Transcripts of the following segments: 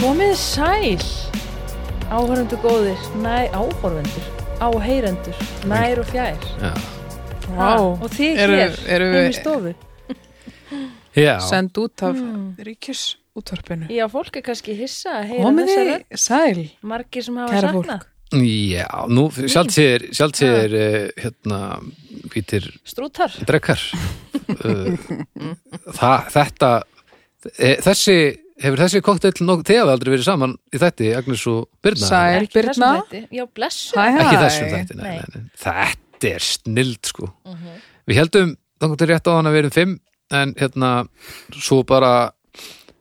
Verið sæl Áhörundu góðir Næ, áhörundur Áheyrendur Nær og fjær Já, Ha, Og þið Eru- hér eru Heim í við- stofu já. send út af ríkisútvarpinu Já, fólk er kannski hissa að heyra komiði þessa rödd sæl Margir sem hafa kæra saknað fólk já nú sjálft sér, sjálft sér uh, hérna, hvítir Strútar drekkar uh, það, þetta e, þessi, hefur þessi kokteill nokk, þið hafa aldrei verið saman í þetta Agnes og Birna Sæl. Er Ekki þessum Birna? þætti. Já, blessu Hæ, ekki hæ. þessum þetta, nei, Nei. nei, nei. þetta er snild sko við heldum, þannig til rétt á hann að við erum fimm en hérna, svo bara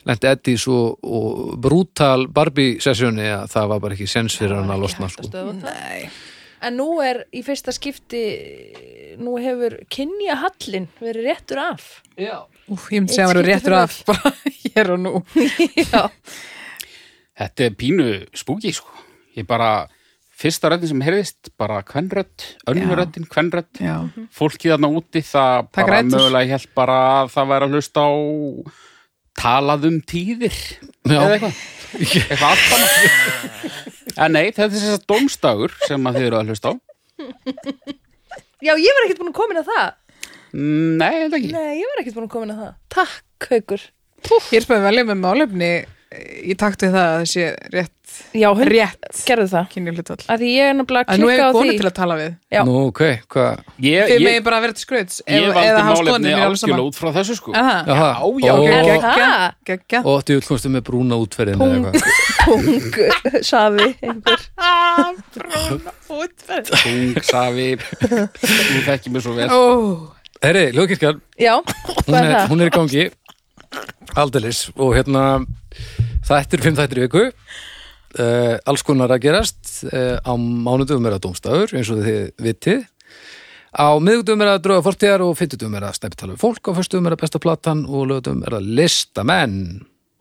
lendi Eddi svo og brútal Barbie sessjóni að það var bara ekki sens fyrir hann að losna sko. Nei. En nú er í fyrsta skipti Nú hefur kynja hallin verið réttur af Úf, ég myndi segja að Eitt það eru skipti réttur af bara hér og nú Já, Þetta er pínu spúki, sko. Ég bara, fyrsta röddin sem heyrðist, bara kvennrödd, Já. önnur röddin, kvennrödd. já, Fólkið þarna úti, það Það bara grætur. mögulega held bara að það væri að hlusta á talað um tíðir. Já. Eða eitthvað. Eitthvað allt annað. En nei, þetta er þess að dómstagur sem að þið eru að hlusta á. Já ég var ekkert búin að komin að það Mm, Nei, þetta ekki. Nei, ég var ekkert búin að koma inn á það. Takk, Haukur. ég er spæðið velja með málefni í takt við það að það sé rétt Já, hund, rétt gerðu það. kynni hlutall Að því ég er nefnilega að að nú klikka á er því. konu til að tala við Já. Nú, ok, hvað Ég, þið ég, megin bara að vera til skrauts ég ef- valdi eða hafa skoðanir málefni mér alveg algjörlega saman. út frá þessu, sko. Er það? Jaha, já, og, Er og, Gekkja, það? gekkja. og þú komstu með brúna útferðin eða Pung. eitthvað. Pung, safi, einhver. Tungsafi, þú þekkir mér svo vel. Ó, Herri, Ljókirkjan, Já, hún, hvað er er- það? hún er í gangi aldeilis og hérna þættir, fimm þættir í viku uh, alls konar að gerast uh, á mánudum er að dómstafur eins og þið vitið á miðugdum er að drauga fortíðar og fyrtutum er að snæpitala við fólk, á fyrstum er að besta platan og lögutum er að listamenn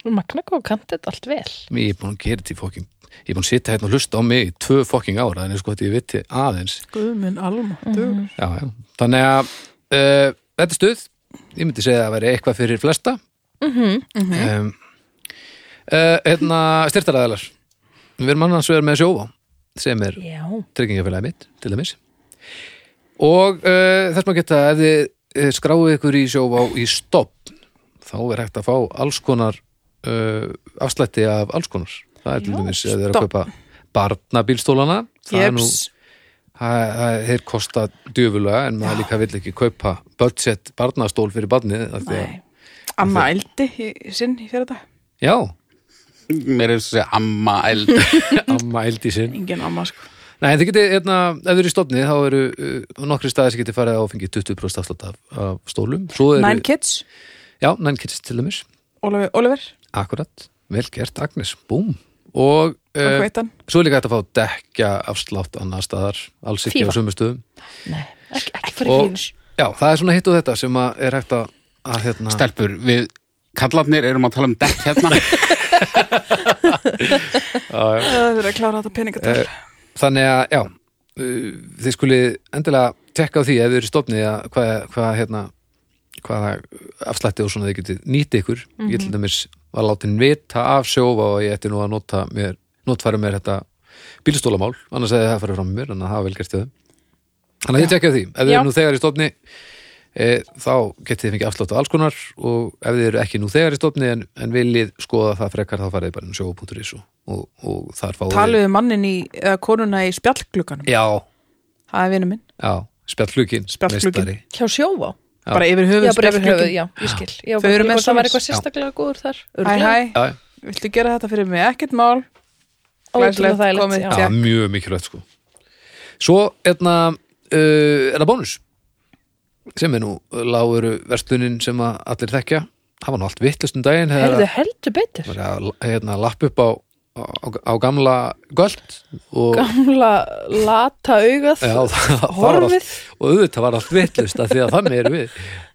Magna hvað kantið allt vel. ég er búin að gera þetta í fokking ég er búin að sitja hérna og hlusta á mig í tvö fokking ára en eins og þetta ég viti aðeins guðminn alma já, já. þannig að uh, þetta er stuð ég myndi segja að það væri eitthvað fyrir flesta mm -hmm. um, uh, hérna styrtaræðalar við erum annars vegar með sjófa sem er Já. tryggingafélagi mitt til dæmis og uh, þess maður geta ef þið eh, skráið ykkur í sjófa í stopn þá er hægt að fá alls konar uh, afslætti af alls konar það er til Já, dæmis ef þið eru að kaupa barnabílstólana það er nú jeps Það- það- þeir kosta djöfulega en maður líka vill ekki kaupa budget barnastól fyrir barnið af því að, Nei. amma eldi í- sinn í fyrir dag já, Mér er þess að segja amma eld. amma eldi sinn engin amma sko Nei, en þið getið, hérna, ef þið eru í stofni þá eru uh, nokkri staði sem getið farið á og fengið 20% afslátt af, af stólum Svo eru, Nine Kids, já, nine kids til dæmis Oliver, Oliver akkurat, vel gert Agnes, búm og uh, uh, svo er líka hægt að fá dekja afslátt annar staðar, alls ekki Fífa. á sömu stöðum Nei, ekki, ekki fyrir Og- hins. Já, það er svona hitt og þetta sem að er hægt að, að hérna, Stelpur, við kallarnir erum að tala um dekk hérna. Það er að klára þetta peningatöl Eh. þannig að já uh, þið skulið endilega tekka á því ef þið eru stofnið að hvað, hvað hérna hvaða afslætti og svona þið getið nýtt ykkur ég Mhm. til dæmis var látin vita af sjófa og ég ætti nú að nota mér, notfæra mér þetta bílstólamál annars hefði það farið fram með mér, þannig að það var vel gert þau þannig að þið tekja á því, ef þið Já. eru nú þegar í stofni e, þá getið þið fengið afslátt á alls konar og ef þið eru ekki nú þegar í stofni en, en viljið skoða það frekar þá farið þið bara inn á sjófa.is og, og, og þar fáið þið- Taluðu mannin í, eða konuna í spjallglugganum Já, Það er vinur minn, Já, spjallugin Spjallglugginn. Hjá sjóvá. bara yfir höfuð Já, bara yfir höfuð, spjallglugginn. já, ég skil. Já, Þau eru Það með var svoleiðis. eitthvað sérstaklega góður þar. Hæ, hæ, Já, viltu gera þetta fyrir mig? Ekkert mál Ótrúlega Glæsilegt, þægilegt. komið. já. já, Tékk. mjög mikilvægt sko Svo, hérna uh, er það bónus sem er nú láguru verslunin sem að allir þekkja hafa nú allt vittlust um daginn þegar Heyrðu, heldur betur. að- að hérna, lappa upp á, á, á gamla göld og Gamla lata augað. Já, það, það var allt, Horfið. og auðvitað var allt vittlust af því að þannig erum við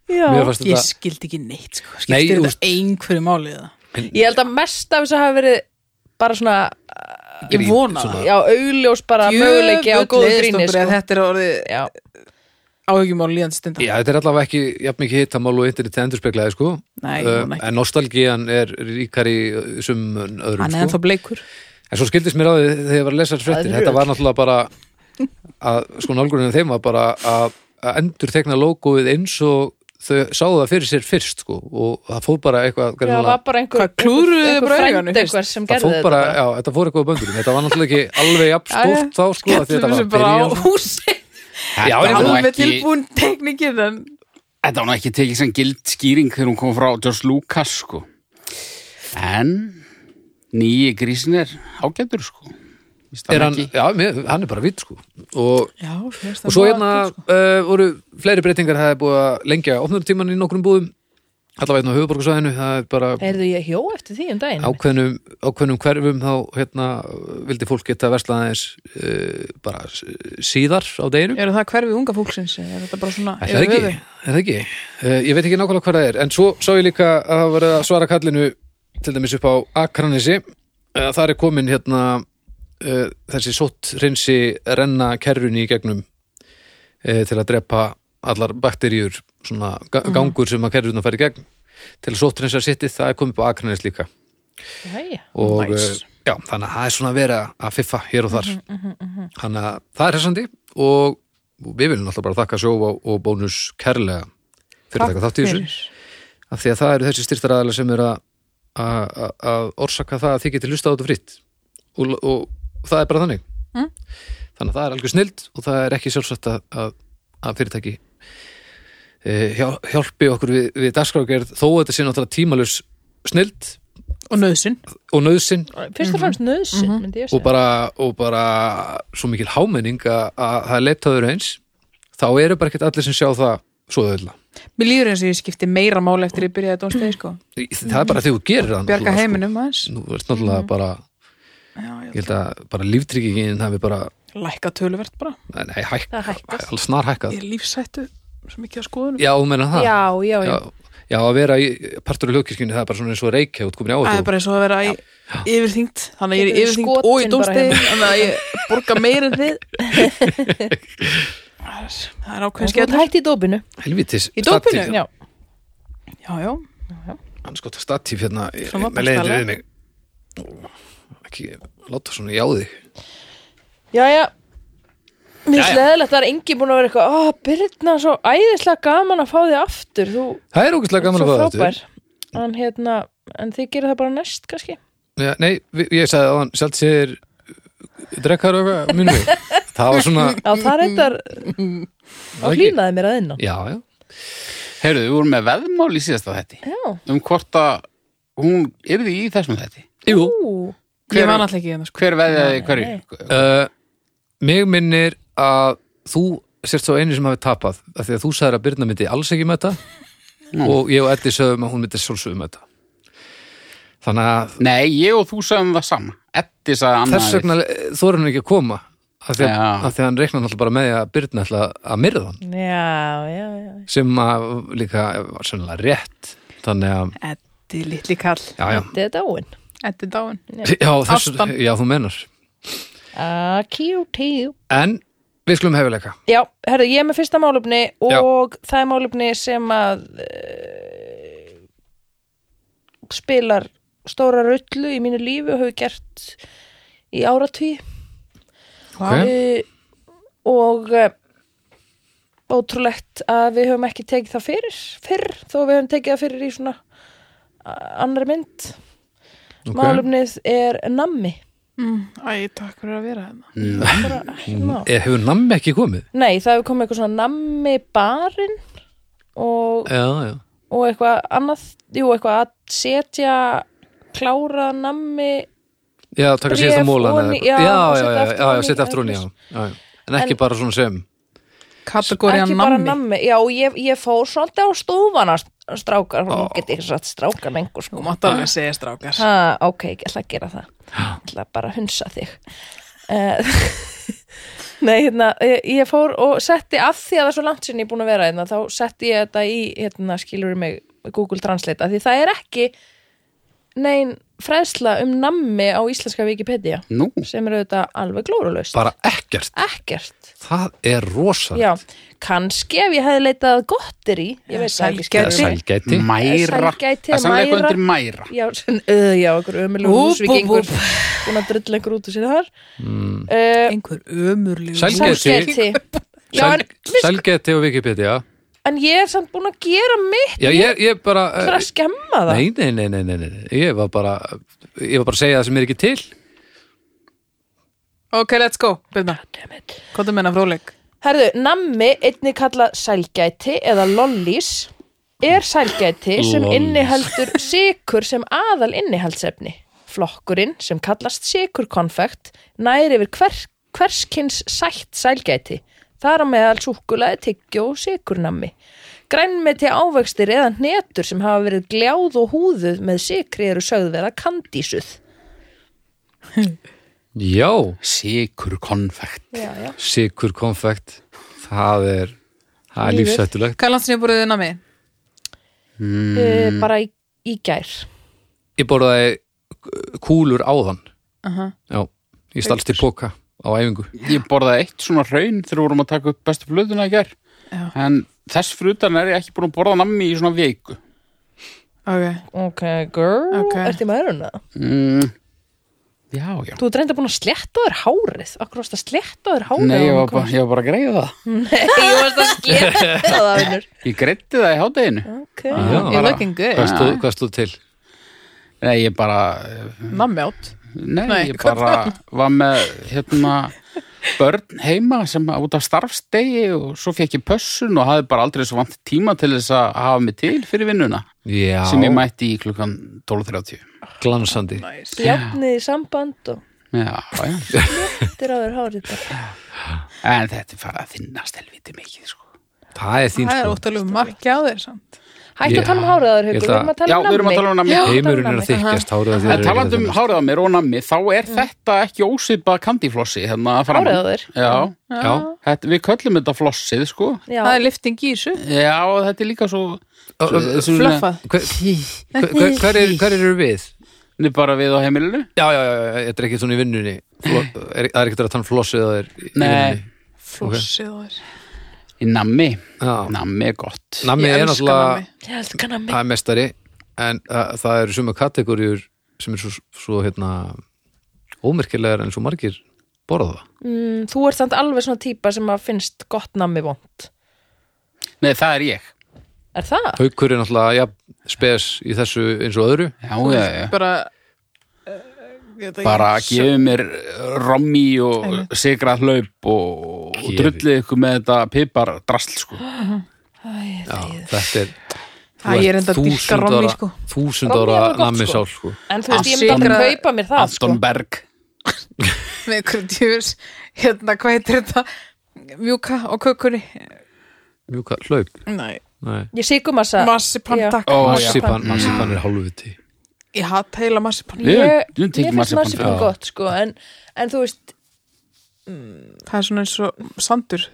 Já. Mér fannst Ég þetta, skildi ekki neitt, sko Nei, Skildi úst- þetta einhverju máli eða Ég held að mest af þess að hafa verið bara svona, uh, Ég Grín, vona svona. það já, augljós bara möguleiki á Jöfull góðu sko. leiðist gríni, okkur að sko. Þetta er orðið Já, áhugjum á líðandi stunda Já, þetta er allavega ekki jafn mikið hittamál og internetið endurspeklaði sko Nei, Uh, núna ekki. en nostalgían er ríkari uh, sum en öðrum Hann er sko. ennþá bleikur en svo skildist mér á því þegar ég var að lesa þessar fréttir Það er þetta var náttúrulega bara að sko nálgurinn þeim var bara að, að endur tekna logoið eins og þau sáðu það fyrir sér fyrst sko og það fóð bara eitthvað það greinilega- var bara einhver Hvað, klúðruðu þið bara frænd auganu fyrst? einhver sem það gerði fóð þetta bara, bara. já, þetta fór eitthvað á böndunum þetta var náttúrulega ekki alveg jafn stórt þá sko af því þetta var að Skellum sem bara á byrja sko. húsi Já, Þetta var nú Alveg ekki- tilbúin teknikinn en Þetta var nú ekki tekið sem gild skýring þegar hún kom frá George Lucas sko. En nýji grísin er ágættur sko. Vist er hann hann, ekki? já, mér, hann er bara vitt sko og Já, fyrst og svo hérna uh, voru fleiri breytingar það er búið að lengja opnunartíman í nokkrum búðum allavega hérna á höfuborgarsvæðinu það er bara Heyrðu ég hjó eftir því um daginn ákveðnum, ákveðnum hverfum þá hérna vildi fólk geta verslað aðeins uh, bara s- síðar á deginum Eru það hverfi unga fólksins? eða Er þetta bara svona Er það ekki, er það ekki uh, ég veit ekki nákvæmlega hvað það er en svo sá ég líka að það verið að svara kallinu til dæmis upp á Akranesi uh, þar er komin hérna uh, þessi sott reynsi renna kerrunni í gegnum uh, til að drepa allar bakteríur svona ga gangur sem að kerrunna fær í gegn til að sott reynsa sittið það er komið upp á Akranes líka Jæja. og Nice. nice. Mhm, já, þannig að það er svona að vera að fiffa hér og þar þannig að það er hressandi og, og við viljum alltaf bara þakka sjófa og bónus kærlega fyrir að taka þátt í þessu af því að það eru þessi styrtaræðala sem eru að- að að- að orsaka það að þið getið hlusta á þetta fritt og, og, það er bara þannig Mm. þannig að það er algjör snild og það er ekki sjálfsagt að, að, að fyrirtæki e, hjá- hjálpi okkur við, við dagskrágerð þó að þetta sé náttúrulega tímalus snild Og nöðsinn og nöðsinn Fyrst og fremst nöðsinn myndi ég Mhm. og segja bara, og bara svo mikil hámenning að, að það er leitaður eins þá eru bara ekkert allir sem sjá það svo öðvöldla Mér líður eins og ég skipti meira máli eftir ég byrjaði dónstegi sko það er bara þegar þú gerir það Bjarga náttúrulega, heiminum Mhm. aðeins sko. nú er náttúrulega bara, Já, já. ég held að bara líftryggingin hafi bara, Lækka töluvert bara nei, hæk, Það hækkar. snar Ég hækkað, er lífsættu svo mikið á skoðunum já, þú meina það Já, já, já, já, já, að vera í partur í hljókirkjunni það er bara svona eins og reykja út komin í Það er áhættu bara eins og að vera í yfirþyngt Þannig að ég er Getur verið yfirþyngt og í skotin bara dómstegi hérna. Þannig að ég borga meira en þið Það er ákveðin Þú ert skellur hægt í dópinu helvitis Í dópinu? statíf, Já, Já, já hann skotta statíf hérna ég- Svona með leiðinu bara við mig ekki, láta svona í áði já, já Mér finnst leðilegt, það er engin búin að vera eitthvað Ó, Birna, svo æðislega gaman að fá þig aftur Þú það er ógustlega ert gaman svo að fá þetta frábær En hérna, en þið gerir það bara næst kannski Já, nei, vi- ég sagði að hann sjálft sér drekkar og eitthvað "Uh, munum við það var svona Já, það reyndar það og ekki- hlýnaði mér að innan já, já, Heyrðu, við vorum með veðmál í síðasta þetti Já, um hvort að hún yrði í þessum þetti. jú ú, Hver- Ég var náttúrulega ekki hérna sko Hver veðjaði hverju? uh, mig minnir að þú sért svo einu sem hafi tapað af því að þú sagðir að Birna myndi alls ekki með þetta og ég og Eddi sögum að hún myndi sjálfsögum með þetta þannig að Nei, ég og þú sagðum það sama. Eddi sagði annað. þess vegna þóra hann ekki að koma af því að, Já. af því að hann reiknar náttúrulega bara með því að Birna ætla að myrða hann já, já, já sem að líka var sennilega rétt þannig að, Eddi litli kall já, já Þetta er dáin Eddi dáin Já, þessu, Aftan. já, þú menar Ah, Q-T-U En við skulum hefileika Já, herðu, ég er með fyrsta málefni Já. og það er málefni sem að uh, spilar stóra rullu í mínu lífi og hefur gert í áratví okay. uh, og uh, ótrúlegt að við höfum ekki tekið það fyrir fyrr, þó við höfum tekið það fyrir í svona uh, annari mynd Ok. Málefnið er nammi Mm, Æ, takk fyrir að vera hérna bara, mm. e, Hefur nammi ekki komið? Nei, það hefur komið eitthvað svona nammi barinn og Já, já og eitthvað annað, jú, eitthvað að setja klára nammi Já, taka Bréf síðasta mólan ofan í- eða- já, já, já, og setja já, aftur já, ofan já, í- setja aftur hún, já, já já. En ekki bara svona sem Kategóri að ekki bara nammi nammi, já, og ég, ég fór svolítið á stúfana strákar, hún Ó. geti ekki satt strákar lengur Þú sko, mátt alveg segja strákar ha, ok, ég ætla að gera það ég ætla bara að hunsa þig uh, nei, hérna ég, ég fór og setti, af því að það er svo langt sinni ég er búin að vera hérna, þá setti ég þetta í hérna, skilur mig, Google Translate, af því það er ekki nein fræðsla um nammi á íslenska Wikipedia Nú, sem er auðvitað alveg glórulaust bara ekkert, ekkert það er rosa Já, kannski ef ég hefði leitað gottir í ég veit það ekki sko. Sælgæti. sælgæti mæra. Sælgæti, Það er sannlega eitthvað mæra. undir mæra. Já, sen, uh, já, okkur ömulegu Úp, húsvíkingur úp, úp. búin að drulla einhver út úr sér þar mm. einhver ömurlegu uh, Sælgæti. Sælgæti Já, en, Sæl, sælgæti og Wikipedia en ég er samt búin að gera mitt já, ég, ég bara eh, fyrir að skemma það nei, nei, nei, nei, nei, nei, ég var bara ég var bara að segja það sem er ekki til ok, let's go, byrna, Damn it. hvað það menna fróleg Herðu, nammi, einnig kallað sælgæti eða lollís, er sælgæti sem Lollís. inniheldur sykur sem aðal innihaldsefni. Flokkurinn sem kallast sykurkonfekt næri yfir hver, hverskins sætt sælgæti. Þar á meðal súkulaði, tyggjó og sykurnammi. Grænmeti ávextir eða hnetur sem hafa verið gljáð og húðuð með sykri eru sögð vera kandísuð. já, Sikur konfekt. Já, já. sikur konfekt það er, það er Lífið. lífsættulegt hvað er landsinni búið þið nami? Mm. Bara í, í gær. ég borðaði kúlur áðan Aha. já, ég stalst til póka á æfingu Ég borðaði eitt svona raun þegar við vorum að taka upp bestu blöðuna í gær. Já. En þess frutan er ég ekki búin að borða nammi í svona viku. ok, Ok, girl. Ok. Ertu í maðurinn það? Mm. Já, já. Þú ert reynda búin að slétta þér hárið Akkur varst að slétta þér hárið Nei, ég áður var, en bara, ég var bara að greiða það. þú komst? Nei, ég varst að slétta það vinnur Ég greiddi það í hádeginu. okay. Já. you're looking hvað good stóð, hvað stóð til? Nei, ég bara, nami átt nei, Nei, ég hvað bara var með, hérna, börn heima sem að- út af starfstegi og svo fekk ég pössun og hafði bara aldrei svo vant tíma til þess að hafa mig til fyrir vinnuna já, sem ég mætti í klukkan 12.30. glansandi Jafnið í samband og Já, já. sléttir á þér hárið bara. En þetta er farið að þinnast helviti mikið, sko. það er þín það er sko óttalegu makki á þér samt Hættu Já. að tala um hárið á þér Ég Haukur, ætla- við erum að Já, tala um við erum að tala um nammi. Já, heimurinn tala um er að þykkjast hárið á þér En er talandi um ekki hárið á mér og nammi, þá er þetta ekki ósipað kandiflossi hérna að fram. Hárið á þér? Já, þannig. já, þetta, við köllum þetta flossið, sko. Já, það er lifting í þessu Já, þetta er líka svo... Ö, ö, ö, svo- fluffað Hver, hver, hver, hver, er, hver eru við? Nei, bara við á heimilinu? Já, já, já, já, þetta er ekki svona í vinnunni Flo, er, Það er ekkert að tann flossið það er í Nei, flossið á þér í nammi. vinnunni Já, Nammi er gott. nammi Ég er elska náttúrulega nammi. ég held kannan mig það er mestari en uh, það eru suma kategóriur sem er svo, svo hérna ómerkilegar en svo margir borða það mm, Þú ert þannig alveg svona típa sem að finnst gott nammi vond Nei, það er ég. Er það? Haukur er náttúrulega, já, spes í þessu eins og öðru Já, já, já. bara eh, ég veit ekki. Bara gefið mér rommi og sigrað hlaup og, og Gefið. drullið ykkur með þetta pipar drasl, sko. Æ, Já, þetta er Æ, ég er enda að dýrka rommi, sko. Þúsund Rommi ára er alveg gott, nammi sko. sál sko. En þú veist, ég Að myndi aldrei syngja- kaupa mér það sko. Anton Berg. með krutjúrs hérna hvað heitir þetta mjúka og kökunni Mjúka, hlaup nei Nei. Ég sigur massa massipan Já. takk Ó, já. Marsipan, marsipan er hálfviti ég hatt heila massipan Við höfum- Ég, við höfum mér tekið finnst marsipan marsipan fyrir. gott sko, en, en þú veist, það er svona eins og sandur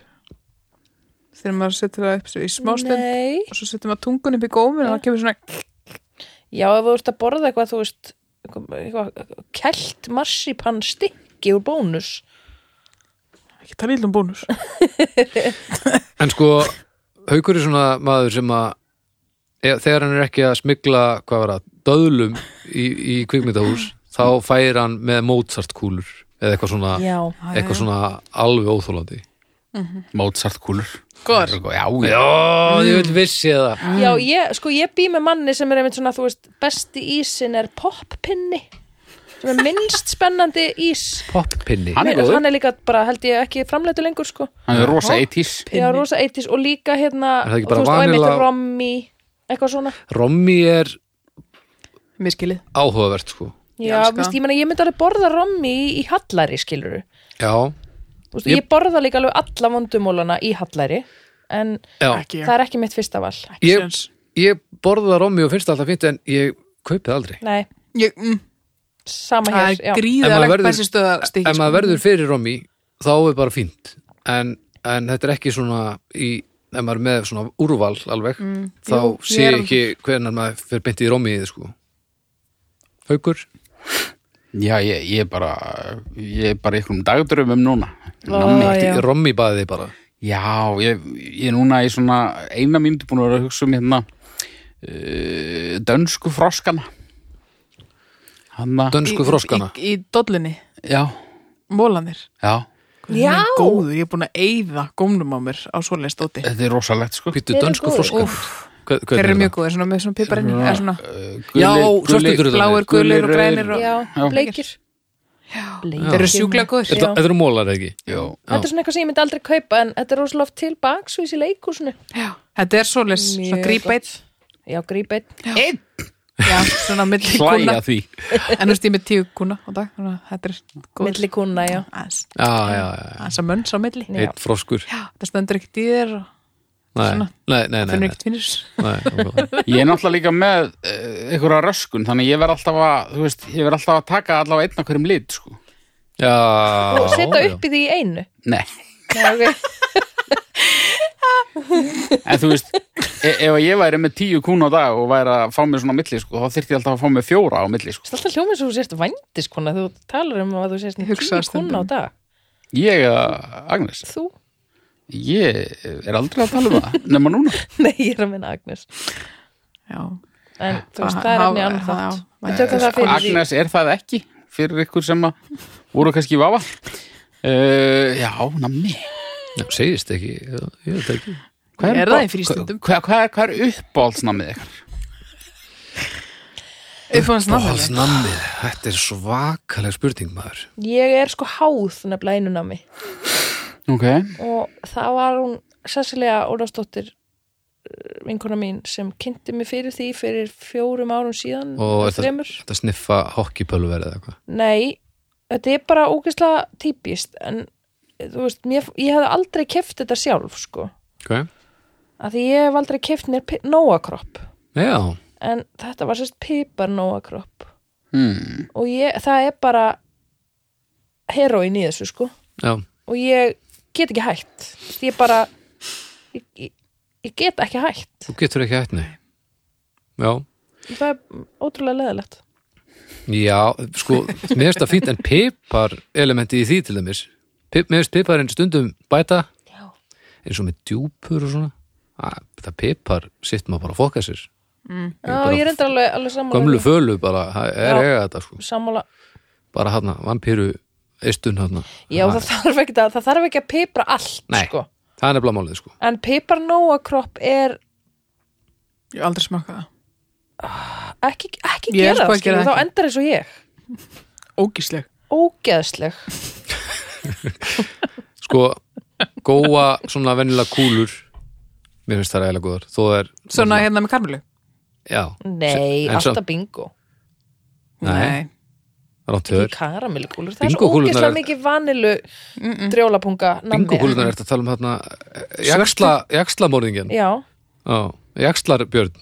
þegar maður setur það upp svo í smástund nei og svo setur maður tungun upp í gómin og það kemur svona Já, ef þú ert að borða eitthvað, þú veist eitthvað, eitthvað kælt marsipan stykki úr bónus ekki tala íldum bónus En sko, haukur er svona maður sem að e- þegar hann er ekki að smigla, hvað var það, döðlum í, í kvikmyndahús þá fær hann með Mozart-kúlur eða eitthvað svona, Já, eitthvað svona alveg óþólandi Mozart kúlur. Góðar. Já, já. Já, ég vil vissi það já ég, sko ég bý með manni sem er einmitt svona, þú veist, besti ísin er poppinni sem er minnst spennandi ís Poppinni Hann er góður. hann er líka bara, held ég, ekki framleitu lengur sko Hann er rosa eitís. Já, rosa eitis og líka hérna Er það ekki og bara þú veist, og einmitt vanilla- rommi eitthvað svona Rommi er miskilið áhugavert sko Já, elska veist, það. ég, meni, ég myndi alveg borða rommi í, í hallari skiluru Já, veist, ég... ég borða líka alveg alla vondumólana í hallari en já Ekki, já. það er ekki mitt fyrsta val Ég, Séns. ég borða Rommi og finnst það alltaf fínt en ég kaupið aldrei Nei, ég, mm, sama það hér, er sko. já. Ef maður gríðalegt verður- bensistöða stikki ef maður verður fyrir Romy þá er bara fínt en, en þetta er ekki svona í, ef maður er með svona úrval alveg þá Mm, Jú, sé ég er ég ekki hvernig maður fyrir beintið í Romy sko. haukur Já, ég, ég er bara ég er bara í einhverjum dagdröfum núna Ó, Nammi. já. rommi baðið bara Já, ég, ég er núna í svona eina myndi búin að vera að hugsa um hérna uh, dönsku froskana Hanna, dönsku froskana Í, í, í dollunni, já, mólanir já Já. Hann er góður, ég er búin að eyða gómnum á mér á svoleiðin stóti þetta er rosalegt sko býttu Þeir eru dönsku góðir. froskana Hver- Þeir Eh, hvernig eru er mjög það? góður, svona með svona piparinn eða svona Eh, Já, svörtu drullarnir. bláir, gulir og Gulir, grænir og... já, Já. bleikir Bleikir. Þeir eru sjúklega góður Þetta Já. þetta eru mólar eða ekki já, Þetta er svona eitthvað sem ég myndi aldrei kaupa en þetta er rosalega oft til baksvís í leikúsinu Já. Þetta er svoleiðis, svona Mjög grípa eitt Já, gríp einn einn Já, svona á milli hlæja kuna því En þú veist, ég er með tíu kuna á dag Þannig að þetta er góð Milli kuna, já Aðeins Já, já, já, aðeins að mönns á milli Já. einn froskur Já, það stendur ekkert í þér og Nei, Svona. nei, nei, nei, finnur nei, ekkert finnir nei nákvæmlega. ég er náttúrulega líka með uh, einhverja röskun þannig að ég verð alltaf að þú veist, ég verð alltaf að taka allavega einn af hverjum lit sko. Já, Og setja já. upp í því í einu nei, Nei, ok. en þú veist e ef ég væri með tíu kún á dag og væri að fá mér svona á milli sko, þá þyrfti ég alltaf að fá mér fjóra á milli sko. Það er alltaf hljómið svo þú sért vændis kuna Þú talar um að þú sért Ég tíu kuna á hugsa það stundum. dag ég, uh, Agnes, Þú? ég er aldrei að tala um það nema núna Nei, ég er að minna Agnes Já, En þú veist, Ha- það er hafa- efni annan ha- þátt já. Við tökum það fyrir því Agnes er það ekki fyrir ykkur sem að voru kannski í vafa uh, já, nammi Já, segist ekki Já, Ég veit ekki Hvað Er uppá- það í frístundum? Hvað, hvað, er- hvað er uppáhaldsnamið ykkar? uppáðans náttúrulega Bóðsnammið, þetta er svakaleg spurning maður Ég er sko háð nefnilega einu námi Ok, og það var hún Cecilia Ólafsdóttir eh, vinkona mín sem kynnti mig fyrir því fyrir fjórum árum síðan Og eða er það, þremur. þetta sniffa hokkipölver eða eitthvað Nei, þetta er bara ógeðslega típist en þú veist, mér, ég hefði aldrei keft þetta sjálf sko, okay. af því ég hef aldrei keft mér pi- nóakropp Já, en þetta var sérst pipar nóakropp hmm. og ég, það er bara heroin í þessu sko já, og ég get ekki hætt því ég bara ég, ég, ég get ekki hætt þú getur ekki hætt nei Já, það er ótrúlega leðilegt já, sko Mér finnst það fínt en pipar elementi í því til dæmis Pip, Mér finnst piparinn stundum bæta Já. eins og með djúpur og svona Æ, Það pipar sitt maður bara að fokka sér Já, ég er enda alveg, alveg sammála Gömlu því. fölu bara, það er Já. eiga þetta sko sammála, Bara hana, vampíru eistun hana já það þarf ekki að það þarf ekki að pipra allt Nei. sko. Það er nefnilega málið sko en pipar nóa kropp er Ég hef aldrei smakað það ekki, ekki Ég gera er það sko að gera skilur, það þá ekki. endar eins og ég Ógísleg ógeðsleg sko, góa svona venjulega kúlur mér finnst það eiginlega góðar þó það er, Svona hérna með karmelu já, nei, En svo- alltaf bingo Nei. rátt ekki höður karamellikúlur, það er svo Bingókúlurnar ógeðslega er- mikið vanilu drjólapunga nammi. bingokúlunar er að tala um hérna jaksla, jakslamorðingin já, já, jakslarbjörn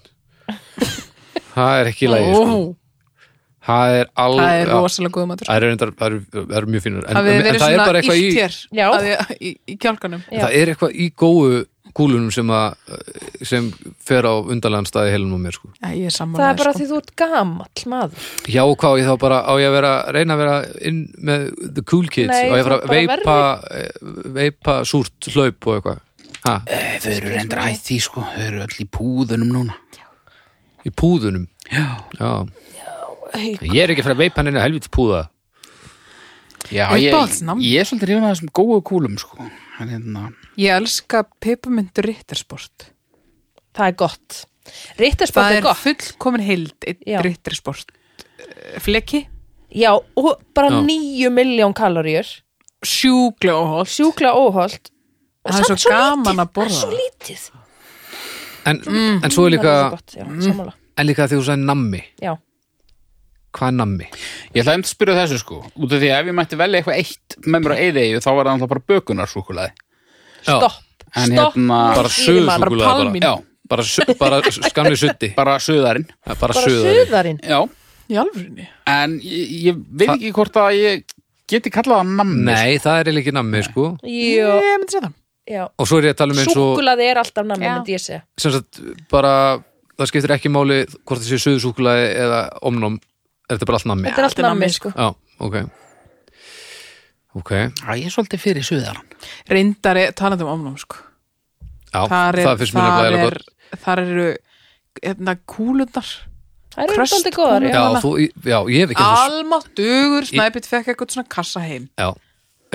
það er ekki lægi sko. Ó, það er al Það er já, rosalega góð matur það er reyndar, það er, það er mjög fínur en, Það en, við en verið það er svona bara eitthvað ítt í hér Já. að því- í, í kjálkanum Já. það er eitthvað í góu kúlunum sem að sem fer á undanlegan staði heilum á mér sko. Já, Ég er sammála það er bara sko. því þú ert gamall maður já, hvað, á ég þá bara á ég að vera, reyna að vera inn með the cool kids Nei, og ég fara þú að bara veipa eh, veipa súrt hlaup og eitthvað ha, Eh, Þau eru reyndar að hætti sko, þau eru öll í púðunum núna í púðunum Já, já. ég er ekki að fara að veipa hann inn að helviti púða já ég, Uppáhaldsnám? ég er svolítið hrifin að þessum góðu kúlum sko. Hann hérna, Ég elska peppermyndu rittersport það er gott rittarsport Það er er gott fullkomin heild Já. rittersport eh, Fleki já, og bara Já. 9 miljón kaloríur Sjúklega óholt sjúkla óholt Það er Samt svo lítið, gaman það að er svo borða lítið en, en svo er líka, Mm, Það er svo gott, já, Mm. sammála en líka þegar þú sagði nammi Já, hvað er nammi? Ég ætlaði einmitt að spyrja þessu sko út af því að ef ég mætti velja eitthvað eitt með mér á eyðeyju þá var það alltaf bara bökunarsúkulaði Já, stopp, En stopp hérna, nú bara stýrir maður. suðsúkulega bara, palmín. Já, bara, su- bara skamni sutti bara söðarinn bara, bara Bara suðari suðarinn Já, Í alvörinni en ég, ég veit ekki hvort að ég geti kallað það nammi nei, það er eiginlega ekki nammi sko Jú, Ég myndi segja það já og svo er ég að tala um eins og Súkkulaði er alltaf nammi, Já. myndi ég segja sem sagt, bara, það skiptir ekki máli hvort það sé suðsúkulega eða omnum er þetta bara allt nammi? Þetta er allt þetta er nammi, nammi, sko. Já, ok Ok, já, Já, ég er svolítið fyrir suðaran. Reyndar er talandi um ofnám, sko. Þar, er, það finnst mér þar, nefnilega eiginlega er, þar eru hérna, kúlundar. Það eru Kröst svolítið góðar, já. gott kúlur. Já, þú, já, ég hef ekki þessu- Almátt dugur, snæpið fekk eitthvað svona kassa heim. Já,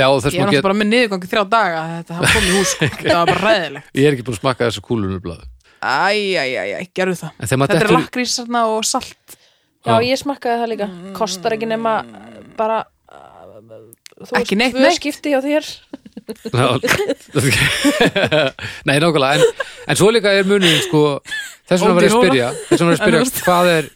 já og þess Ég var maður náttúrulega get bara með niðurgangi þrjá daga, þetta hafa komið í hús, sko. það var bara ræðilegt. Ég er ekki búin að smakka þessar kúlur með blaðu Æj, æj, æj, æj, gerðu það. En þegar maður Þetta er dettur- lakrísarna og salt. Já, Já. ég smakkaði það líka. Mm. Kostar ekki nema bara... uh, Þú Ekki neitt, tvö neitt. skipti hjá þér. Já, Nei, nákvæmlega en, en svo líka er munurinn sko, þess vegna var ég að Ódýr spyrja þess vegna var ég að En spyrja þú veist- hvað er,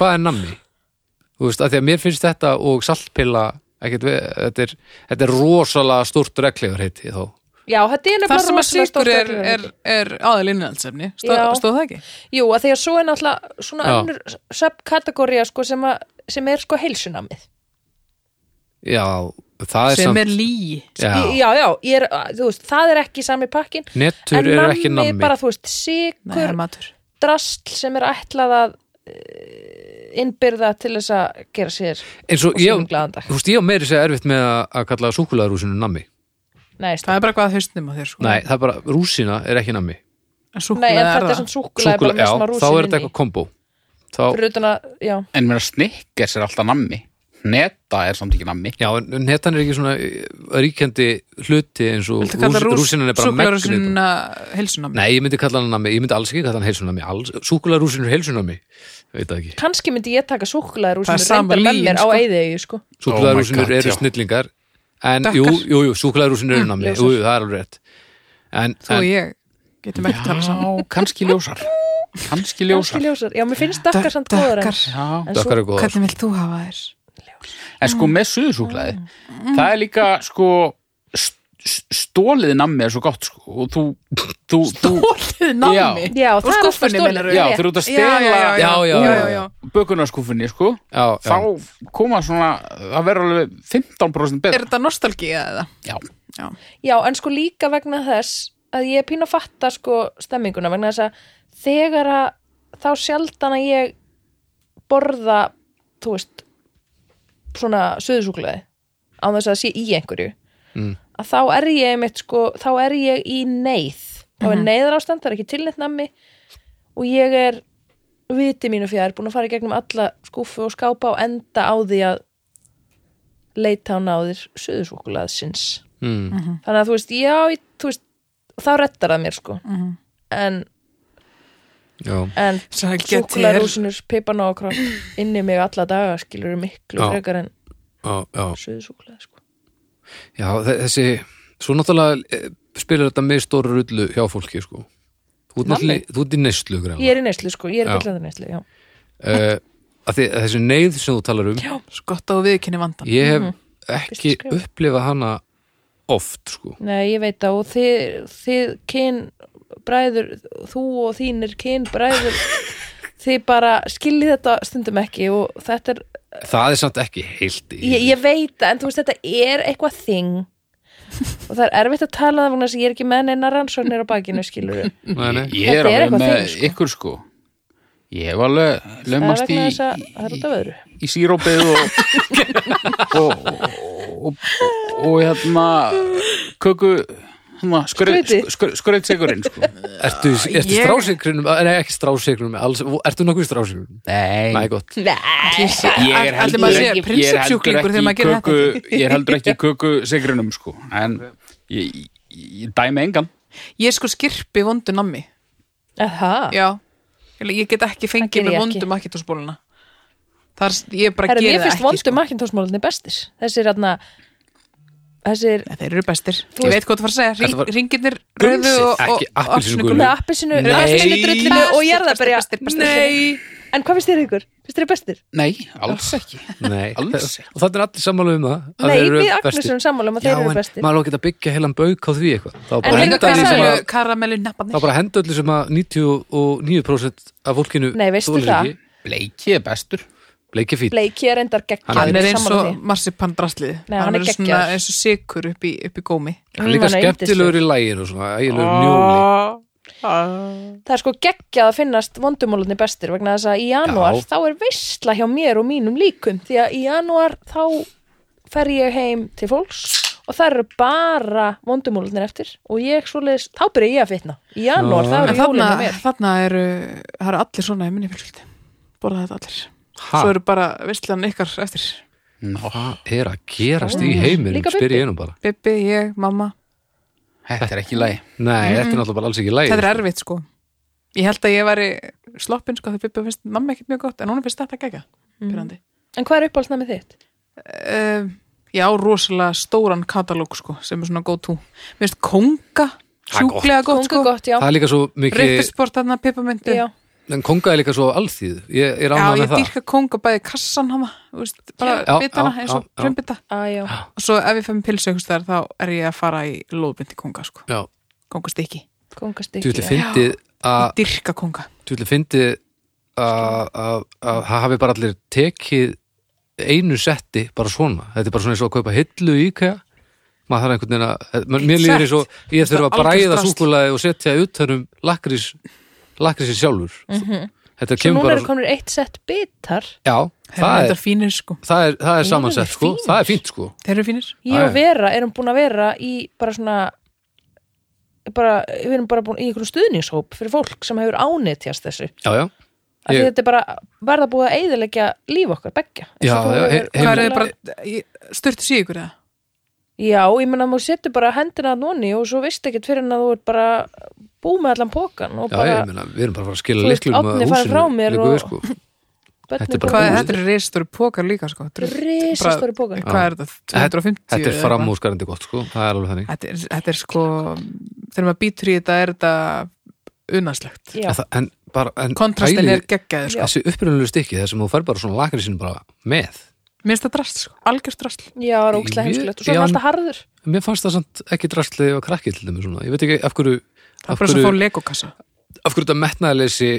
hvað er nammi þú veist, af því að mér finnst þetta og saltpilla ekkert, við- þetta, er, þetta er rosalega stórt reglegar heiti þó Já, þetta er Þar nefnilega sem að rosalega sigur stórt er, regluverk. er, er aðalinnaldsefni, Já. stóð það ekki? Jú, að því að svo er náttúrulega svona Já. önnur subkategória sko, sem, að- sem er sko heilsunamið. Já, það er Sem samt er lí. já, já, já ég er, að- þú veist, það er ekki sami pakkin. Nettur en eru ekki nammi bara, þú veist, Nei, það sigur, er matur. drastl sem er ætlað að eh, innbyrða til þess að gera sér eins og og ég, sínum glaðan dag. þú veist, ég á meiri segja erfitt með að að kalla súkulaðrúsinu nammi Nei, stað. Það er bara hvað hausnum á þér sko. Nei, það er bara, rúsina er ekki nammi en súkkulaði Nei, en er þetta er það. svona súkulega bara með já, smá þá rúsin er þetta inn í. eitthvað kombo þá, Fyrir utan að, já, En mér að snikkers er alltaf nammi. Neta er samt ekki nammi. Já, en en netan er ekki svona eh, ríkjandi hluti eins og Viltu kalla rús, rúsinan er bara megnið. Súkularúsinna heilsunami Nei, ég myndi kalla hann nami, ég myndi alls ekki kalla hann heilsunami, alls, súkulega rúsinur heilsunami, veit það Oh ekki. kannski myndi ég taka súkulega Það rúsin er sama reyndar með lygin, mér á sko. eiðegi, sko. Súkulega Oh my rúsinur God, eru já. snillingar, en Dökkar. Mm, jú, jú, jú, súkulega rúsinur eru nami, ljósar. jú, jú, það er alveg rétt. En, Þú og en ég getum ekki talað saman Já, kannski ljósar. Kannski Kannski ljósar. ljósar. Já, mér finnst dakkar samt góðar en- Dökkar. Já. en dökkar er góðar. Hvernig vilt þú hafa þér? En sko með suðusúklaði, það er líka sko st- st- stólið nammi er svo gott sko og þú, þú, þú Dólið nammi Já, það er Úr ofta skúffunni, stólið. meinarðu? já, rétt. þú eru út að Já, já, stela já, Já, já, já, já, já. bökunarskúfunni sko Já, já. þá koma svona það verður alveg 15% Er betra þetta nostalgía eða? Já, Já. Já, en sko líka vegna þess að ég er pín að fatta sko stemminguna vegna þess að þegar að þá sjaldan að ég borða, þú veist svona söðusúklaði á þess að það sé í einhverju Mm. að þá er ég einmitt sko þá er ég í neyð þá er neyðar ástand, það er ekki tilnætt nammi og ég er viti mínu fjær búin að fara í gegnum alla skúfu og skápa og enda á því að leita á náðir söðusúklaðsins Mm, þannig að þú veist, já, ég- þú veist þá rettar það mér sko en, já, en Sælgja til súkularúsinur pipana og krop inn í mig alla daga skilur miklu Já. frekar en já, já. suðsúkulega sko. Já, þe- þessi, svo náttúrulega eh, spilar þetta með stóra rullu hjá fólki, sko. Þú ert Nammi? náttúrulega, þú ert í neyslu, greinlega. ég er í neyslu sko, ég er Já. í glæðan neyslu já. uh, að því, að þessi neyð sem þú talar um Skotta og viðkynni vandan ég hef Mhm. Fyrsta ekki skref. upplifað hana oft sko nei, ég veit það og þið, þið kyn bræður, þú og þínir kyn bræður þið bara skiljið þetta stundum ekki og þetta er, það er samt ekki heilt í ég, ég veit það en þú veist, þetta er eitthvað þing og það er erfitt að tala um það vegna þess að ég er ekki með neina rannsóknir á bakinu skilur nei, nei. ég er Þetta er alveg eitthvað með þinn, sko. ykkur sko Ég hef alveg Það er lömmast í, vegna þess að það er út af öðru. í sírópið og og, og, og, og hérna köku hérna, Skrauti. skröðsegurinn sko. ertu, ertu Ég- strásikrunum nei ekki strásikrunum, alls, ertu nokkuð strásikrunum Nei, nei gott, ég Ætli er heldur maður sé ekki- ég er prinsipsjúklingur heldur þegar maður ekki gerir köku, ég er heldur ekki í köku sigrunum sko en ég, ég, ég dæmi engan Ég sko skirpi vondu nammi Aha. Já Ég ég get ekki Ah. geri fengið með ég vondu ekki. makkitúsbóluna Þar, ég bara Herra, geri mér það finnst ekki sko. vondu makkintosmólinni bestir. Þessir hérna, þessir, Nei, Þeir eru bestir. Þú Ég veist- veit hvað þú fara að Þetta segja. var- Ringirnir Gulsið, rauðu og, og ekki appelsínugulu. með hérna appelsinu, Nei. appelsinu drullinu og jarðaberja. Bestir, bestir, bestir. En hvað finnst þér ykkur? Finnst þér bestir? nei, alls ekki nei Alls ekki. og það er allir sammála um það að Nei, þeir eru við bestir. Agnesurum sammála um að já, þeir eru en bestir. maður á geta að byggja heilan bauk á því eitthvað þá bara Nei. líka En henda hvað því sem sagðirðu? að karamellu, karamellu þá nepparnir. bara henda öllu sem að 99% af fólkinu Nei, veistu þolir það? ekki. bleiki er bestur bleiki fít Bleiki er endar geggja. Hann er eins og marsipan drastlið. Nei, hann er er svona geggjaður. eins og sikur upp í, upp í gómi. hann er líka Hann er Ah. skemmtilegur í læginu og svona ægilegur njóli það er sko geggjað að finnast vondumólarnir bestir vegna þess að í janúar Já. þá er veistla hjá mér og mínum líkum því að í janúar þá fer ég heim til fólks og það eru bara vondumólarnir eftir og ég svoleiðis, þá byrja ég að fitna í janúar, Já. þá En eru jólinn þarna, hjá mér þarna eru, það eru allir svona í minni fjölskyldi borða þetta allir Ha, svo eru bara visslan ykkar eftir Hvað er að gerast í Mm. heiminum Líka spyr Bubbi. ég einum bara Bibi, ég, mamma, Þetta er ekki læg. Nei, þetta er náttúrulega bara alls ekki læg þetta er erfitt sko ég held að ég væri sloppin sko þegar Bibi finnst mamma ekkert mjög gott en hún finnst þetta gegga pyrrandi en hvað er uppáhaldsnæmið þitt? um, ég á rosalega stóran katalóg sko, sem er svona go to mér finnst konga, Það er gott. sjúklega gott, Kongu sko. gott, já, Það er líka svo mikið Rippesport þarna, pippamöndu já. En konga er líka svo alþýð Ég er Já, ánað ég með það dýrka konga bæði kassan hama, þú veist, bara Já, bitana já, eins og já, já. frumbita Ah, já. og svo ef ég fæ mér pilsu einhvers þar þá er ég að fara í lóðbindi konga sko, Já, kongastykki kongastykki tjúli fyndið að ég dyrka konga, tjúli fyndið að að- að það hafi bara allir tekið einu setti bara svona Þetta er bara svona eins og að kaupa hillu í IKEA maður þarf einhvern veginn að mér- mér líður eins og ég þurf að Algjört bræða drasl. súkulaði og setja utanum lakrís lakrisi sjálfur Þetta Svo kemur núna bara eru konur eitt sett bitar Já, þeir eru það er, þetta fínir sko það er, það er Eru samansett þeir sko, fínir? það er fínt sko þeir eru fínir, Ég og Æ. Vera erum búin að vera í bara svona bara, við erum bara búin í einhverjum stuðningshóp fyrir fólk sem hefur ánetjast þessu Já, já, af því Ég- þetta er bara verða búið að eyðilegja líf okkar beggja Eins og Já, þú já, hefur- he- hvað er heimil- þið bara styrtu sig ykkur eða? Já, ég menna að maður setur bara hendina að nonni og svo veist ekkert fyrir en að þú ert bara búið með allan pókan og já, bara ég meina, við erum bara að fara að skila Þú veist, liklum að Árni farið frá mér liggur við, og- sko. börnin þetta er bara hvað er búið. búin- þetta eru reistóri pókar líka sko þetta eru- Risastóri pókar hvað er þetta, 250 Þetta er eða eitthvað? framúrskarandi gott sko, það er alveg þannig þetta er, þetta er sko þegar maður býtur í þetta er þetta unnarslegt Já, en, það- en, bara, en kontrastin pælið- er geggjaður sko. Þessi upprunalegu stykki, þess að þú fær bara svona lakrísinu bara með mér finnst það drast, sko. algjörst drast já, það er ókslega Ég- heimskulegt og svo er já, hann alltaf harður Mér fannst það samt ekki drastlið og krakki til þeim svona. Ég veit ekki af hverju það er af bara svo að fá hverju, legokassa af hverju þetta metnaðleysi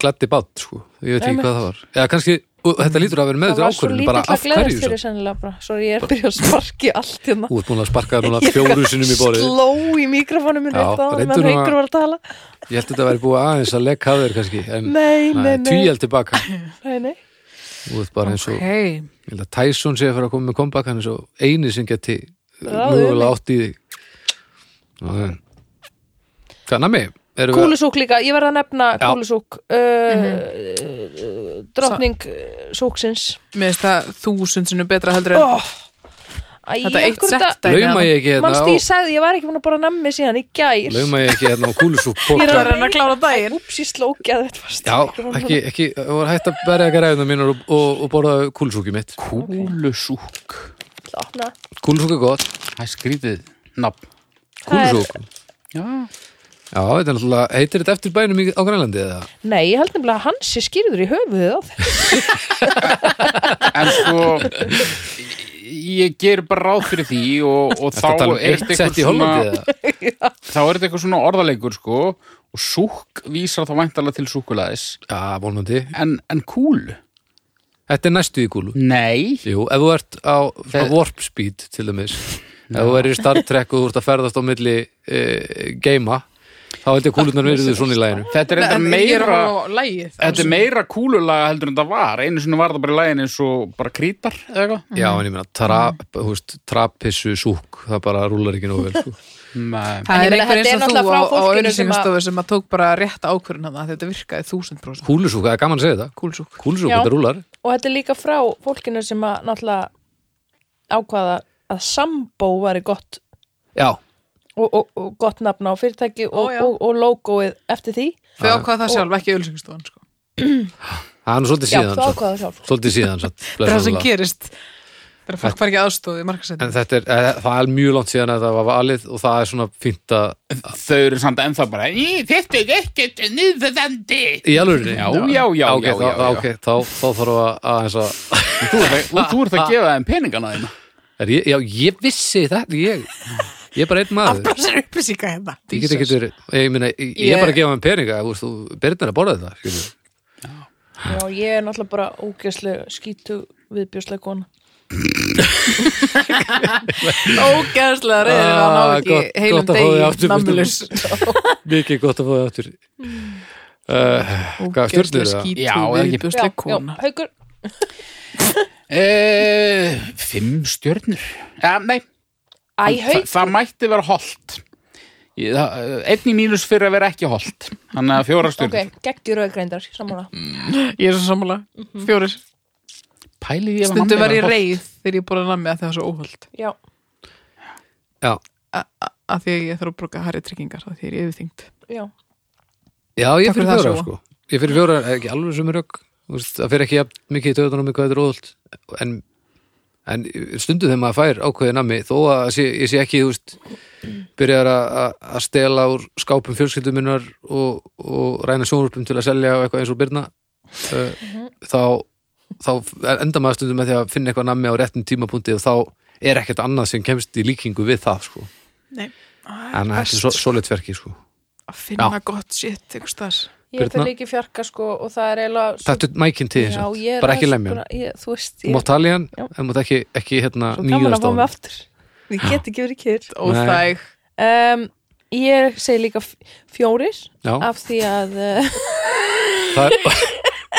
gladdi bát sko. Ég veit Einmitt. ekki hvað það var Eða kannski, og þetta lítur að vera Það meður var svo ákvörðin bara lítill að af gleðast hverju fyrir svo. sennilega bara Sorry, ég er byrjað að sparki allt hérna Þú ert búin að sparka núna fjóru sinum í borðið sló í mikrofónum minn Já, rétt áðan reyndu Mm. meðan nú að- Haukur var að tala Ég held að þetta væri búið aðeins að legg hafðir kannski en nei, nei, nei, tvíjál tilbaka nei, nei. Þú ert bara eins og hei, Ég held að Tyson sé að fara að koma með comeback hann er svo eini sem geti Ráðið mögulega við. átt í þig Já, já. Hvað nami? Erum við kúlusúk líka, ég verð að nefna Já. Mhm. kúlusúk uh, mm drottning uh, súksins mér finnst það þúsund sinnum betra heldur en oh. Æ, þetta eitt sett að lauma ég ekki hérna mannst á ég sagði, ég var ekki búin að bara nammi síðan í gær lauma ég ekki hérna á kúlusúk Ég er podcast? að reyna að klára daginn úps, ég slókja þetta fast Já, ekki, ekki, það voru hægt að berja ekki ræðina mínar og, og, og borða kúlusúki mitt Kúlusúk. Opna. Kúlusúk er gott, Það er skrítið nafn. Það er- kúlusúk Já. Já, þetta er náttúrulega, heitir þetta eftir bænum í- á Grænlandi eða? Nei, ég held nefnilega að hans sé skýrður í höfuðið á þeim En sko, ég ger bara ráð fyrir því og, og þá Þetta er er um þetta eitt sett eitthvað í Hollandi eða? svona, þá er þetta eitthvað svona orðaleikur sko og súk vísar þá væntalega til súkulaðis. Já, vonandi En, en kúl? Þetta er næstu í kúlu Nei. Jú, ef þú ert á, á warp speed til dæmis, ef þú ert í Star Trek og þú ert að ferðast á milli e, geima, þá held ég að kúlunar verið svona í læginu. Þetta er ég eitthvað er að meira... horfa á lægið Þetta er meira kúlulaga heldur en það var einu sinni var það bara í lægin eins og bara krítar eða eitthvað Já, en ég meina, tra, þú veist, trapissu súk, það bara rúlar ekki nógu vel, sko. Nei. Ég það er meina, einhver þetta er eins og náttúrulega þú frá á, á fólkinu sem auðlýsingastofu sem að tók bara rétt ákvörðun hann að þetta virkaði þúsund prosent Kúlusúk, það er gaman að segja þetta. kúlsúk Kúlusúk, Já. þetta rúlar. og þetta er líka frá fólkinu sem að náttúrulega ákvaða að sambó væri gott Já, og, og, og gott nafn á fyrirtæki og, Ó, já. og, og logoið eftir því þau ákvaða það sjálf, ekki auðlýsingastofan sko. það er nú svolítið Já, síðan. þú svo. ákvaða sjálf Svolítið síðan, satt. það er það sem blessunarlega. gerist það er að fólk fær ekki aðstóð í En markasættin þetta er, e, það er mjög langt síðan að það var valið og það er svona fínt að, Þau eru samt ennþá bara "Í, Þetta er ekkert nýðvöðandi í alvörinni. Já, já, já, ok, já, þá, já, já. ok, þá, þá þarf að, aðeins að, Þú ert að- þú ert að gefa þeim peningana þína er ég, já, ég vissi þetta, ég, ég er bara einn maður. afbrásir upplýsinga hérna ég get ekki verið, ég meina, ég, ég er bara að gefa hann peninga, þú veist, þú byrðnar að borða þetta, skilur. Já, ég er náttúrulega bara ógæslega skítu viðbjóslega kona Ógæðslega reyður að ná Ah, ekki gott- heilum gott að fá þig aftur, degi Birta. nammulus mikið gott að fá það aftur uh, hvað stjórnir það? Já, skýtu eða ekki- viðbjóðslega kona haukur e, Fimm stjörnur ja, Nei, Æ, það, hauk, það mætti vera holt Ég- það- Einn í mínus fyrir að vera ekki holt Þannig að fjóra ok, stjörnur okay. geggjur auðgreindar sammála Mm. Ég er svo sammála, fjórir Pæli því ef að Mhm. Stundum nammi var ég væri hollt. reið þegar ég búið að nammi að það var svo óhald já, Já. að því að ég þarf að bruka harri tryggingar að því er ég yfirþyngd já, já, ég fyrir Takk fyrir það, fjóra Sóla. sko. ég fyrir fjóra, ekki alveg sem er rauk það fyrir ekki jafn mikið í töðunum hvað þetta er óðult en, en stundu þegar maður fær ákveðið nammi þó að sé, ég sé ekki þú veist, byrjar að- að að stela úr skápum fjölskyldum minnar og, og ræna sjónrúpum til að selja og eitthvað eins og byrna uh, Mhm. þá, þá enda maður stundum með því að finna eitthvað nammi á réttum tímapunkti og þá er ekkert annað sem kemst í líkingu við það sko. Nei, en þetta er svo, solitverki sko. að finna gott shit ykkur staðar ég Birna? fyrir líki fjarka sko og það er eiginlega svo- Þetta er mækinn til Já, ég þess er bara ekki aðeins lemja hann búin að- ég- þú veist, Þú ég mátt tala í hann, Já. en mátt ekki, ekki hérna svo gaman að nýðast fá á mig hann aftur ég get ekki verið kyrr Óþæg um, ég segi líka f- fjórir Já, af því að uh, það er,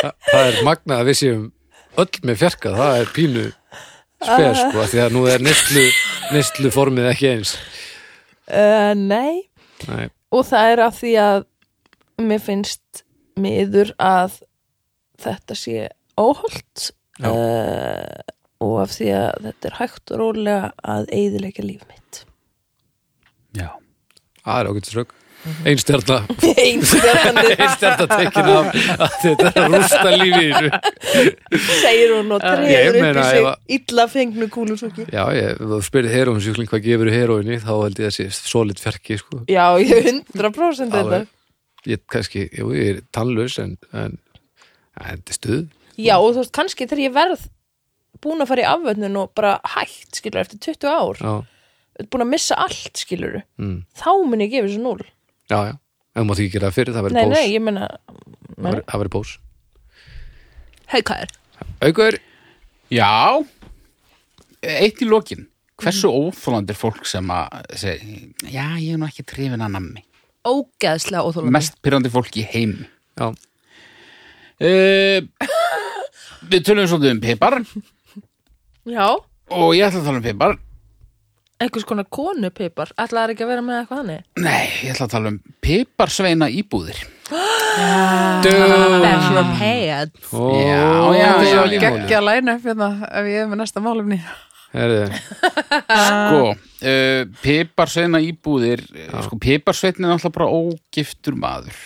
það- það er magna að við séum öll með fjarka, það er pínu Ah. spes, sko, af því að nú er neslu, neslu formið ekki eins uh, nei Nei, og það er af því að mér finnst miður að þetta sé óholt Já. uh, og af því að þetta er hægt og rólega að eyðileika líf mitt Já. það er ágætt strök Mhm. Ein stjarna, einstjörnandi ein stjarna tekin af að þetta er að rústa lífi í þessu. segir hún og Ég treður upp meina, í ef sig að- illa fengnu kúlusúki Já, ég, ef þú spyrir heróinsjúkling hvað gefur heróinni, þá held ég að sé solid fjarki, sko já, ég hundra prósent hérna. þetta Alveg. Ég kannski, jú, ég er tannlaus en, en, en þetta er stuð já, og þú veist, kannski þegar ég verð búin að fara í afvötnun og bara hægt skilur, eftir 20 ár, Já, búin að missa allt skilur, mm. þá mun ég gefa þessu núl Já, já, en þú mátt ekki gera það fyrir, það verður nei, pós nei, ég meina Það verður- Það verður pós haukar Aukur, Já Eitt í lokin Hversu óþólandi er fólk sem að seg, Já, ég er nú ekki trefin að nammi ógeðslega óþólandi Mest pyrrandi fólk í heim já, e, Við tölum svolítið um pipar Já, Og ég ætla að tala um pipar einhvers konar konupipar Ætlaði þær ekki að vera með eitthvað hannig Nei, ég ætla að tala um piparsveina íbúðir Ah. Bachelor pad Ó, Já, já, þetta er já, svo já. lífmálið. Gekkja að læna upp hérna ef ég er með næsta málumni Herðu, Sko, uh, piparsveina íbúðir Já. Sko, piparsveinn er náttúrulega bara ógiftur maður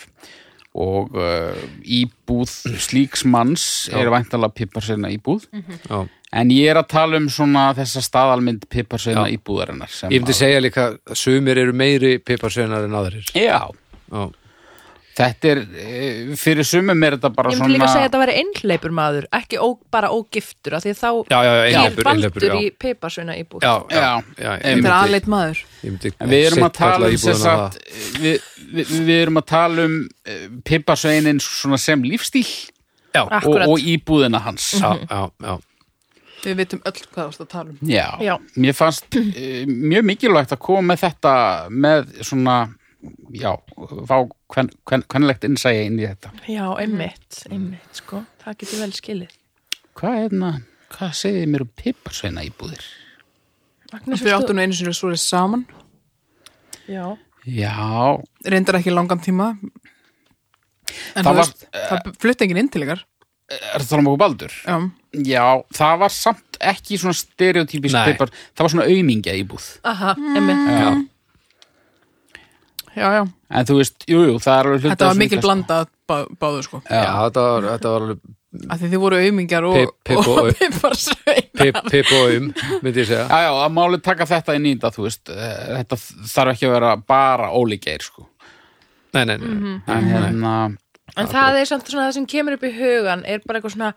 Og uh, íbúð slíks manns er væntalega piparsveina íbúð Mm. já. En ég er að tala um svona þessa staðalmynd piparsveina Já. íbúðarinnar sem Ég myndi segja líka að sumir eru meiri piparsveinar en aðrir að, Já, Já, þetta er, eh, fyrir sumum er þetta bara Ég myndi svona líka að segja að þetta væri einhleipur maður Ekki ó, bara ógiftur af Því að þá já, já, já, er einhleipur, einhleipur, baldur já í piparsveina íbúð Já, já, Já, já, ég einmitt. Þetta myndi- er aðleitt maður ég myndi En Við erum að seint kalla tala um íbúðina sem sagt, við, við, við erum að tala um piparsveinin svona sem lífstíl það. og, Akkurat. Mhm. og íbúðina hans Já, já, já, Við vitum öll hvað þú ert að tala um Já. Já. mér fannst eh, mjög mikilvægt að koma með þetta með svona já, fá hvern, hvern, hvernlegt innsæja inn í þetta Já, einmitt, einmitt sko. Það getur vel skilið Hvað er þetta? Hvað segir þið mér um piparsveina íbúðir? Agnes, Þau veist áttu nú einu sinni svo saman þú- Já, Já, Reyndar ekki langan tíma En Það það, var- veist, það eh, flutti enginn inn til ykkar er það um okkur baldur? Já, Já, það var samt ekki svona stereotypist Nei. pipar, það var svona aumingja íbúð aha, einmitt Já. já, já En þú veist, jú, jú, það er alveg hluti Þetta af sko. var svona mikil flest- blanda bá, báðu sko já, þetta var, þetta var alveg Af því þið voru auðmingjar og, Pip- pip og- og piparsvein pip, pip og um, myndi ég segja Já, já, að máli taka þetta inn í þetta, þú veist, eh, þetta þarf ekki að vera bara ólíkeir, sko. Nei, nei, nei, Mhm. nei. En hérna, En það er samt svona það sem kemur upp í hugan er bara eitthvað svona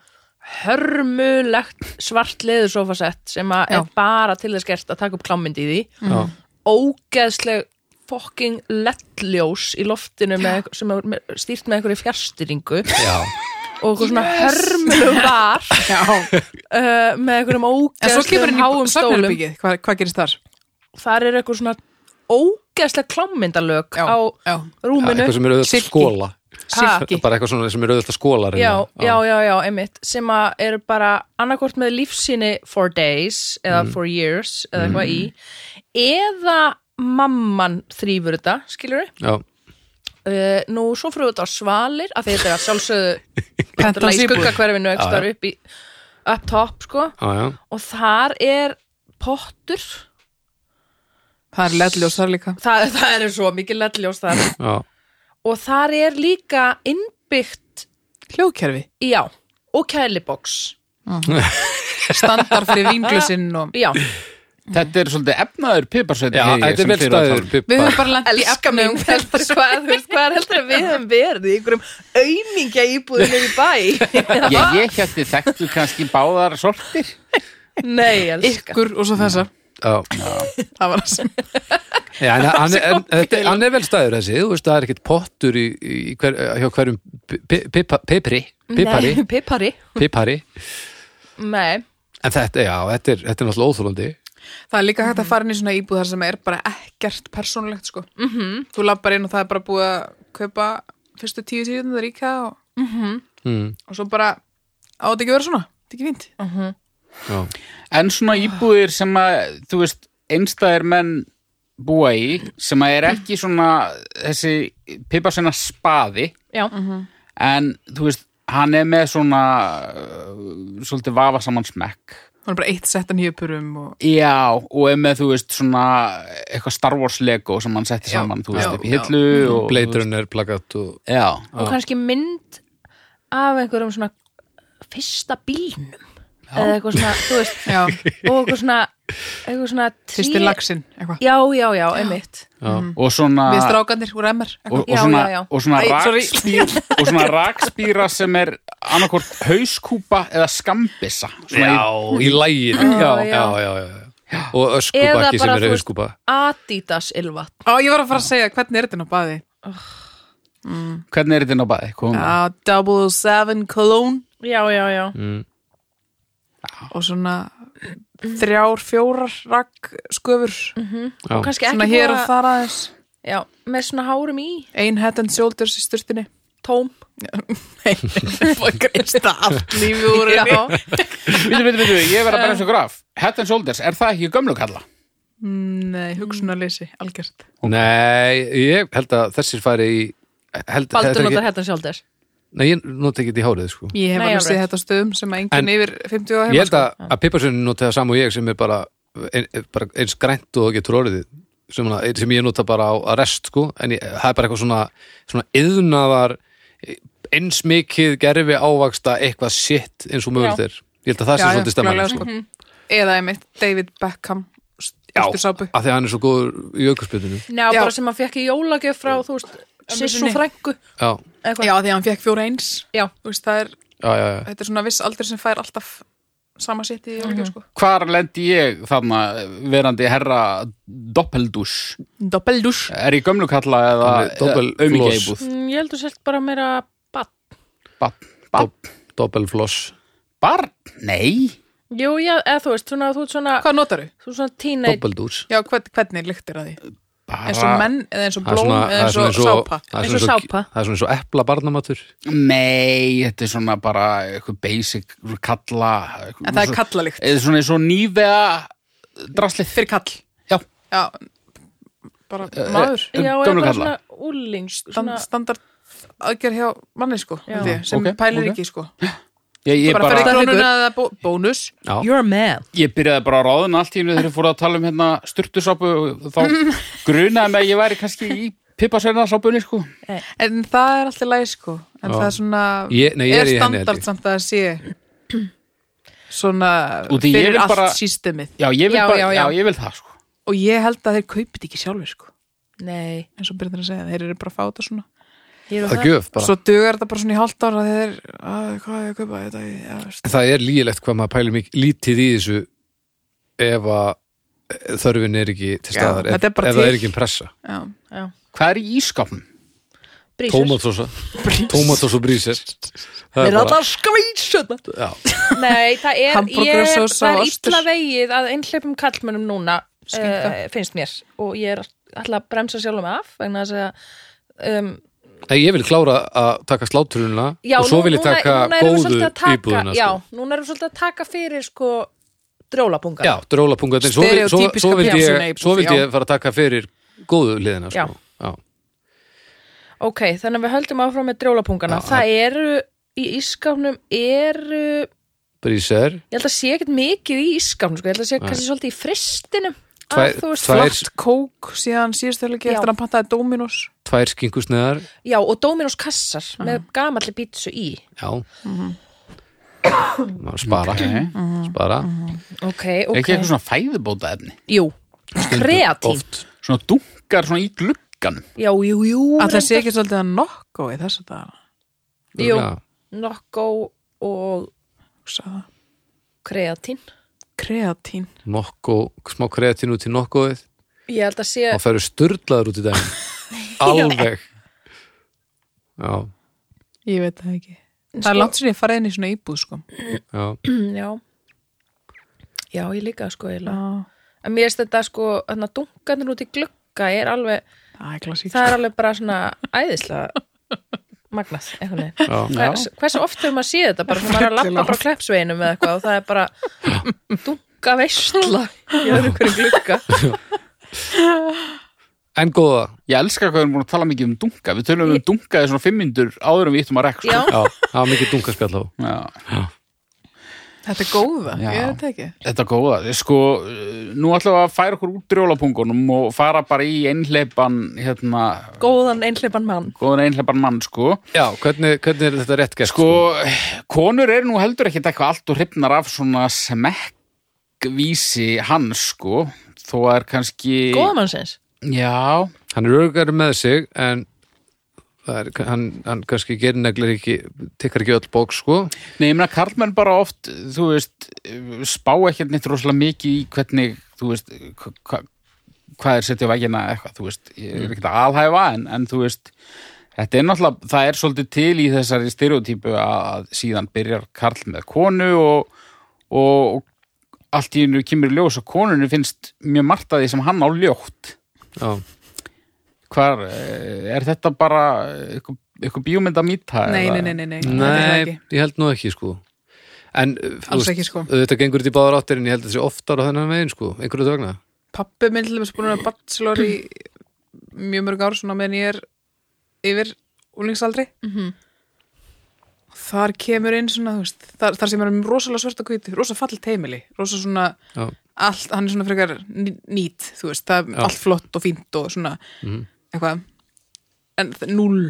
hörmulegt svart leður sofasett sem að Já. Mhm. er bara til þess gert að taka upp klámynd í því Já, ógeðsleg fucking lettljós í loftinu með, sem er með- stýrt með einhverju fjárstyringu já, og eitthvað svona hörmulum var Já, uh, með einhverjum en svo ógeðslegum kemur hann í háum stólum safnherbyggið, hvað, hvað gerist þar? þar er eitthvað svona ógeðslega klámyndalög Já, á já. rúminu eitthvað sem er auðvitað Silki. skóla Ha. bara eitthvað svona sem er auðvitað skóla reyna. já, já, já, já, einmitt sem að eru bara annarkvort með lífsýni for days eða Mm. for years eða eitthvað í eða mamman þrýfur þetta, skilur við já. uh, nú svo fyrir við þetta á svalir af því þetta er að sjálfsögðu náttúrulega Penthouse í íbúð. skuggakverfinu Já, já. ekstra upp í upp top sko Já, já. og þar er pottur Það er leðljós þar líka. það, það er svo mikið lettljós þar Já. og þar er líka innbyggt Hljóðkerfi. já, og kæliboks Standar fyrir vinglusinn og... já, Þetta er svolítið efnaður piparsveitn Já, þetta er vel staður Við Bibba. höfum bara lent í elska mig efnum. um heldur hvað, þú veist, hvað er heldur að við höfum verið í einhverjum aumingja íbúðinu í bæ Ég, ég hætti þekktu kannski báðar sortir nei, elska Ykkur og svo þessa. Já. Það var það sem... Já, en hann, er- en, þetta er- hann er vel staður þessi, þú veist, það er ekkert pottur í, í hver, hjá hverjum pi- pi- pipa- pipri, pipari, Nei, pipari. pipari, Nei. en þetta, já, þetta er, þetta er náttúrulega óþólandi. Það er líka hægt Mhm. að fara inn í svona íbúð þar sem er bara ekkert persónulegt sko. -hmm. Mhm. Þú lappar inn og það er bara búið að kaupa fyrstu tíu tíu þar íka og, Mhm. Mm, og svo bara á þetta ekki að vera svona. Þetta er ekki fínt. Mm. já, En svona íbúðir sem að, þú veist, einstæðir menn búa í sem að er ekki svona þessi piparsveina spaði Já, en, þú veist, hann er með svona uh, svolítið vafa saman smekk Það er bara eitt sett að nýjöpurum og Já, og er með, þú veist, svona eitthvað Star Wars Lego sem hann setti Já, saman, þú veist, já, upp í já. Mm. hillu og, Blade Runner plakat og, Já, og kannski mynd af einhverjum svona fyrsta bílnum eða eitthvað svona, þú veist já, og eitthvað svona, eitthvað svona tré- fyrsti laxinn eitthvað. Já, já, já, einmitt já, og svona Við strákanir úr MR og, eitthvað. og Já, svona, já, já. og svona Æ, sorry. rakspýr og svona rakspýra sem er annarkvort hauskúpa eða skambissa svona já, í lægin, já, já, já. já, já, já, og Eða öskubakki bara, sem er þú veist- öskuba. Adidas ylvatn Á, ég var að fara að segja hvernig er þetta ná baði? í, hvernig er þetta inn á baði? Ja. Já, 007 Cologne Já, já, já og svona Mm. þrjár, fjórar rakk sköfur Já, Kannski svona Mhm. ekki hér búið og að- þar aðeins Já, með svona hárum í, Ein head and shoulders í sturtinni tóm greista allt lífi úr Já, henni Vitu, vitu, vitu, ég verð að brenna svo graf Head and Shoulders, er það ekki gömlu kalla? Nei, hugsunarleysi, algjört Nei, ég held að þessir fari í, held, þetta Baldur er notar ekki, hérna sjálf þess nei, ég nota ekki þetta í hárið, sko. Ég hef Nei, alveg alveg. séð þetta á stöðum sem að enginn En- yfir 50 á Ég heima sko. held að, að piparsveinin nota það saman og ég sem er bara, ein, bara eins grænt og það getur orðið sem, hana, sem ég nota bara á að rest sko, en ég, það er bara eitthvað svona, svona yðnaðar eins mikið gerfi ávaksta eitthvað sitt eins og mögult Já. er ég held að það Já, sé já, svolítið stemman klárlega, sko. sko. Eða einmitt David Beckham Sturtusápu af því að hann er svo góður í aukurspjötinu Já, Já. bara sem hann fekk í jólagjöf frá, þú veist, Sissu sinni. frængu já, eitthvað. Já, því að hann fekk fjóra eins Já, Þú veist, það er, já, já, já. Þetta er svona viss aldur sem fær alltaf sama sitt í jólgjöf sko. Hvar lendi ég þarna verandi herra Doppeldús? Doppeldús Er ég gömlu kalla eða Hann er doppel- aumingeibúð? Mm, ég heldur selt bara meira bann Barn? Barn? doppelfloss Barn? Nei Jú, já, eða þú veist, svona, þú ert svona, Hvað notaru? þú ert svona tína dopeldús Já, hvern, hvernig lyktir að því? Bara... Eins og menn, eða eins og blóm, eða eins og sápa það er svona Eins og eins sápa. og- það er svona eins og epla barnamatur Nei, þetta er svona bara eitthvað basic kalla En það er kallalikt Eða svona eins og nývega draslið Fyrir kall Já, Já, bara maður Eh, Já, eða Gömlu bara kalla. svona úling Stand, svona, standard aðgerð hjá manni sko Já. held ég, sem Ok, pælir ok. ekki sko ég, ég, bara, bara, bara fyrir Standard krónuna eða bó, bónus Já. You're a man ég byrjaði bara að ráðuna allt í hennu þegar ég fór að tala um hérna styrtusápu og þá grunaði mig að ég væri kannski í pippasveinasápunni sko en það er alltaf læg sko en Já. það er svona Ég- nei, ég er er í henni, held ég. standard samt að það sé svona Út í ég fyrir vil allt bara- systemið Já, ég vil, Já, bara, já, já. ég vil það sko og ég held að þeir kaupið ekki sjálfur sko Nei, eins og byrðin að segja, þeir eru bara að fá þetta svona ég er það er gjöf bara svo dugar þetta bara svona í hálft ára þeir, að, hvað er að kaupa þetta í- já, veist. En það er lýgilegt hvað maður pælir mikið lítið í þessu ef að eh, þörfin er ekki til Já, staðar ef, þetta er bara ef það um til. er ekki pressa já, Hvað er í ískapnum? Brísir. Tómatsósa Tómatsós og brísir Það Við er erum bara alltaf hérna. skvísuna já, Nei, það er, ég, Hamborgarasósa það og er ostur. illa vegið að einhleipum kallmönnum núna Skinka. uh, finnst mér og ég er alltaf að bremsa sjálfum mig af vegna þess að um, Nei, ég vil klára að taka sláturunna já, og svo nú- vil ég núna- taka núna erum við góðu svolítið að taka- íbúðuna Já, sko. núna erum við svolítið að taka fyrir sko drjólapunga Já, drólapunga svo, vil- svo, svo, Stereotypíska vildi pjássuna ég, íbúð, svo vildi já. ég fara að taka fyrir góðu liðina sko. Já. Já. Ok, þannig að við höldum áfram með drjólapungana Já, Það eru í ískapnum eru, Brísir ég held að sé ekkert mikið í ískapnum sko, ég held að sé kannski svolítið í fristinum að Tvær- Ah, þú veist, tvær- Flott kók síðan síðustu helgi Já. eftir að hann pantaði Dominos Tvær skinkusneðar Já, og Dominos kassar með gamalli pítsu í Já Mhm. Má Spara Spara Mhm. Ok, okay. ok, ekki eitthvað svona fæðubóta efni jú Kreatín, Oft svona dunkar svona í glugganum já, jú, jú að það sé reyndar. ekki svolítið að nokko í þessu dag Jú, Já. nokkó og kreatín kreatín Nokko, smá kreatín út í nokkoðið Ég held að sé og færu sturlaður út í daginn Alveg Já, ég veit það ekki Sko- það er langt sér ég farið inn í svona íbúð sko já Mm, Já Já, ég líka sko eiginlega það En mér finnst þetta sko, þannig að dunkanir út í glugga er alveg, er klassík það er alveg bara svona æðislega magnað, einhvern veginn Já. Hvers, hversu oft hefur maður séð þetta bara þegar maður er að lappa Hryllilega frá kleppsveginum eða eitthvað og það er bara dunga veistla í öðru hverju glugga En góða ég elska hvað við erum búin að tala mikið um dunka við tölum um dunka í svona fimmindur áður en við íttum að rekk Já, sko. Já, það var mikið dungaspjall á Já. þetta er góða, Já. ég veit það ekki þetta er góða sko, eh, nú ætlum við að færa okkur út drjólapungunum og fara bara í einhleipan hérna, góðan einhleipan mann góðan einhleipan mann sko Já, hvernig, hvernig er þetta rétt gert? Sko, konur eru nú heldur ekkert eitthvað allt og hrifnar af svona smekkvísi hans, sko. Þó er kannski... góðan mannsins Já, Hann er örgari með sig en það er, hann, hann kannski gerir neglir ekki tekkar ekki öll bók sko nei, ég meina, karlmenn bara oft, þú veist, spá ekkert neitt rosalega mikið í hvernig, þú veist, hva, hva, hvað er setja á veginna eitthvað, þú veist, ég Mm. er ekkert að alhæfa, en, en þú veist, þetta er náttúrulega, það er svolítið til í þessari stereotypu að síðan byrjar karl með konu og, og, og allt í hennu kemur í ljós og konunni finnst mjög margt að því sem hann á ljótt. Já, hvar, eh, er þetta bara eitthvað, eitthvað bíómynd að mýta? nei, nei, nei, nei, nei, þetta er það nei, ekki. ég held nú ekki sko En, uh, þú Alls veist, ekki, sko. Þetta gengur þetta í báðar áttir en ég held að þetta sé oftar á þennan veginn sko, einhverju vegna pappi minn til þess búin að vera bachelor í mjög mörg ár svona meðan ég er yfir úlingsaldri Mhm. þar kemur inn svona þú veist, þar, þar sem er um rosalega svarta kvíti rosa fallit heimili, rosa svona Já, allt, hann er svona frekar ný- nýt þú veist, það er Já. allt flott og fínt og svona eitthvað en það- núll,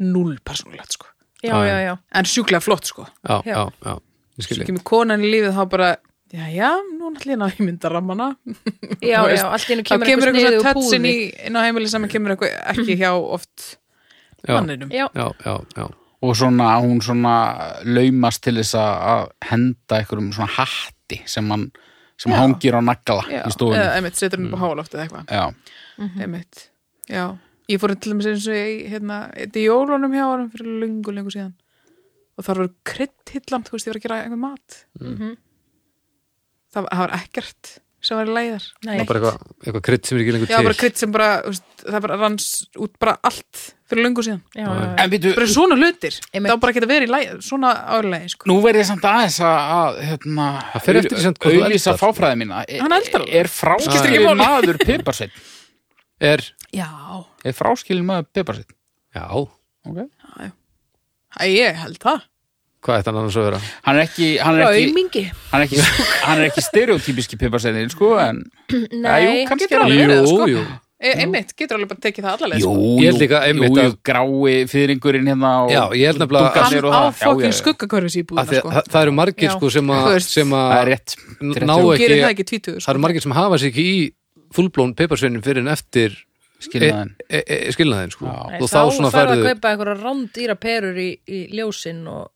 núll persónulegt sko, já, já, já, en sjúklega flott sko já, Já. já, já, ég svo skilji kemur konan í lífið þá bara já, já, nú náttúrulega ég ná í myndaramana já, Þú já veist, allt í hennu þá kemur, kemur eitthvað sniðug svona tötsin í púði. inn á heimili sem kemur eitthvað ekki hjá oft Já. manninum já, Já, já, já, Og svona, hún svona laumast til þess að að henda einhverjum svona hatti sem hann sem Já. hangir á nagla Já, í stofunni. eða einmitt setur hann upp á hálóft eða eitthvað Já, Mhm. einmitt, já ég fór til dæmis eins og ég hérna, þetta er jólunum hjá hann fyrir lungu, lungu síðan og þar var kryddhillan, þú veist, ég var að gera einhver mat það, það var ekkert sem var í leiðar Nei. bara eitthvað, eitthvað krydd sem er ekki lengur já, bara til krydd sem bara, þú veist, það bara ranns út bara allt fyrir lungu síðan já, já, já. en býtu, bara svona hlutir, Einmitt. það var bara ekki að vera í læð svona árlega, sko nú verði samt aðeins að, að hérna, Það fer eftir því samt hvað þú auðlýsa eldar. sko. fáfræði mína. E- Hann eldar alveg. Er fráskilin maður piparsveit? Er, já, Er fráskilin maður piparsveit? já, Okay. Æ, ég held það hvað ætti hann annars að vera? Hann er ekki, hann er ekki, Raumingi hann er ekki, hann er ekki stereotypíski piparsveitin, sko, en... Nei, Jú, kannski getur er hann- alveg verið, sko. jú, E, einmitt, getur alveg bara tekið það allaveg Jú, sko. Ég held líka einmitt jú, jú, að- grái fyrringurinn hérna og Já, ég held nefnilega að- dungarnir hann á og það. Já, já, fokkin já. skuggakörfis Af íbúðina því að sko. það- það eru margir Já. sko sem Þú að veist, sem Það er að rétt. rétt ná hjá þér. ekki- gerir það ekki tvítuðu það sko. eru margir sem hafa sér ekki í fullblón peiparsveinin fyrir en eftir Skilnaðinn. e, e, e, skilnaðin sko. Já. og þá, svona ferðu færðu, að kaupa einhverja rándýra perur í, í ljósin og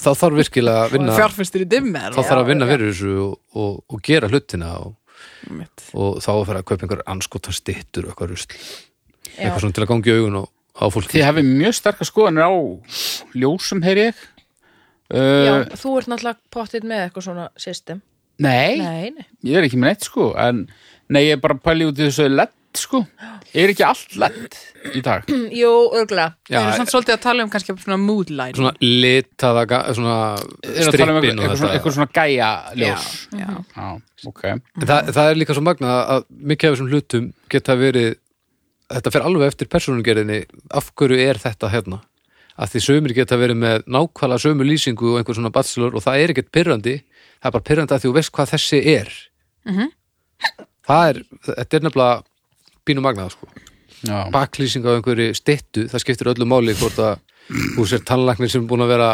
þá þarf virkilega að vinna þá fjárfæstir í dimmer þarf að vinna fyrir þessu og, og, og gera hlutina og, Einmitt. og þá að fara að kaupa einhver anskotar stittur og eitthvað rusl Já. eitthvað svona til að gangi augun og, á fólki Þið hafið mjög starka skoðanir á ljósum, heyri ég. Eh. Já, Uh, þú ert náttúrulega pottitt með eitthvað svona system. nei, Nei, nei. ég er ekki með neitt, sko. En, nei, ég er bara að pæli út í þessu lett, sko. Er ekki allt lett í dag? Mm, Jú, örgulega. Við erum Já, samt svolítið að tala um kannski svona mood line svona litaða ga- svona Er að tala um strippin eitthvað, og eitthvað, svona- þetta eitthvað svona gæja ljós? Já. Já, ok. En það, það er líka svo magnað að mikið af þessum hlutum geta verið þetta fer alveg eftir persónugerðinni af hverju er þetta hérna að því sömur geta verið með nákvæmlega sömu lýsingu og einhver svona bachelor og það er ekkert pyrrandi, það er bara pyrrandi að því þú veist hvað þessi er það er, þetta er nefnilega pínu magnað sko, Já. baklýsing á einhverju styttu, það skiptir öllu máli hvort að þú sér tannlæknir sem er búin að vera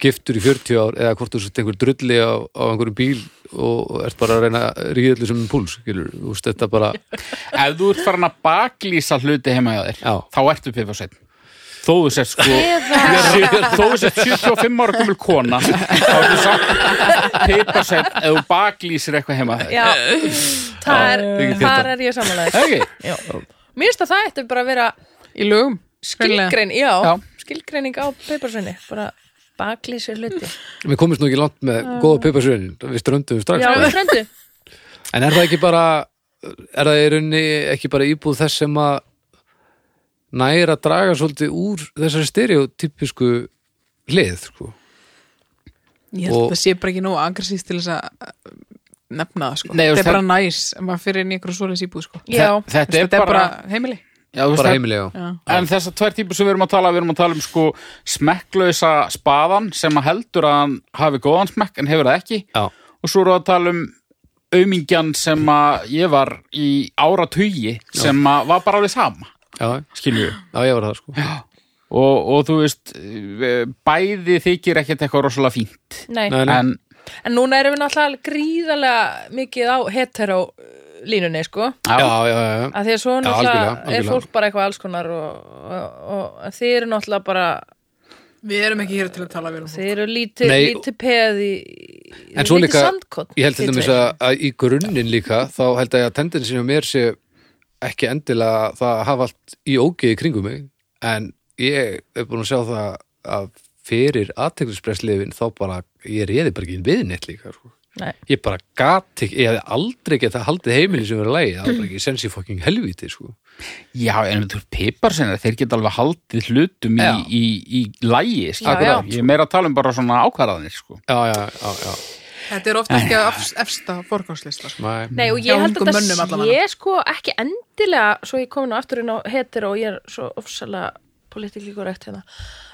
giftur í 40 ár eða hvort þú sett einhver drulli á, á einhverjum bíl og, og ert bara að reyna að ríðallu sem um púls, skilur, þú veist þetta bara Ef þú ert farin að baklýsa hluti heima hjá þér, Já. þá ertu pifarsveinn. Þó þú sért sko... Eða, Þó þú sett 75 ára gömul kona þá er þú samt piparsett ef þú baklýsir eitthvað heima þér. já, þar, þykir þar þetta. er ég samanlega. Ekki? Mér finnst að það ætti bara að vera Í lögum hreinlega. skilgrein, já, Já. skilgreining á peiparsvinni. Bara baklýsir hluti. Við komumst nú ekki langt með góða piparsveinin við ströndum strax Já, bara. við fröndu. En er það ekki bara er það í rauninni ekki bara íbúð þess sem að næra að draga svolítið úr þessari stereotypisku lið sko. Ég held Og- að það sé bara ekki nóg aggressíst til þess að uh, nefna það sko. Nei, þetta þú veist, er bara næs, maður fyrir inn í einhverju svoleiðs íbúð sko. Já. Þe- Þetta Þetta er bara, heimili já, þú veist, bara það- heimilega Já. En þessar tvær típur sem við erum að tala, við erum að tala um sko smekklausa spaðan sem að heldur að hann hafi góðan smekk en hefur það ekki Já. og svo erum við að tala um aumingjan sem að ég var í áratugi sem að var bara alveg sama Já, skilju já, ég var það sko. og, og þú veist eh, bæði þykir ekkert eitthvað rosalega fínt Nei. Nei, nei. en En núna erum við náttúrulega gríðarlega mikið á hetero uh, línunni, sko. Já, já, já, já. Af því að svo náttúrulega algjörlega, er algjörlega. fólk bara eitthvað alls konar og, og, og, og þið eru náttúrulega bara, Við erum ekki hér til að tala vel um þið eru lítið, Nei. lítið peð í, En svo líka, sandkott. ég held til dæmis að, að í grunninn líka, þá held ég að tendensin hjá mér sé ekki endilega það að hafa allt í ógeði kringum mig, en ég er búin að sjá það að fyrir aðteklispressleifin þá bara, ég reyði bara ekki við neitt líka, sko. Nei. Ég bara gat ekki, ég hefði aldrei getað haldið heimili sem verið lægi, það var bara ekki sensi fucking helvíti, sko. já, en þú piparsinnar, þeir geta alveg haldið hlutum í, Já. í, í lægi, Já, skilju já. ég er meira að tala um bara svona ákvarðanir sko. Já, já, já, já. Þetta er ofta ekki að efst- efsta forgangslista sko. Nei. Nei, og Hjá ég held ungum að mönnum þetta allavega. sé sko ekki endilega, svo ég komin á aftur inn á hetero og ég er svo ofsalega politikli korrekt hérna.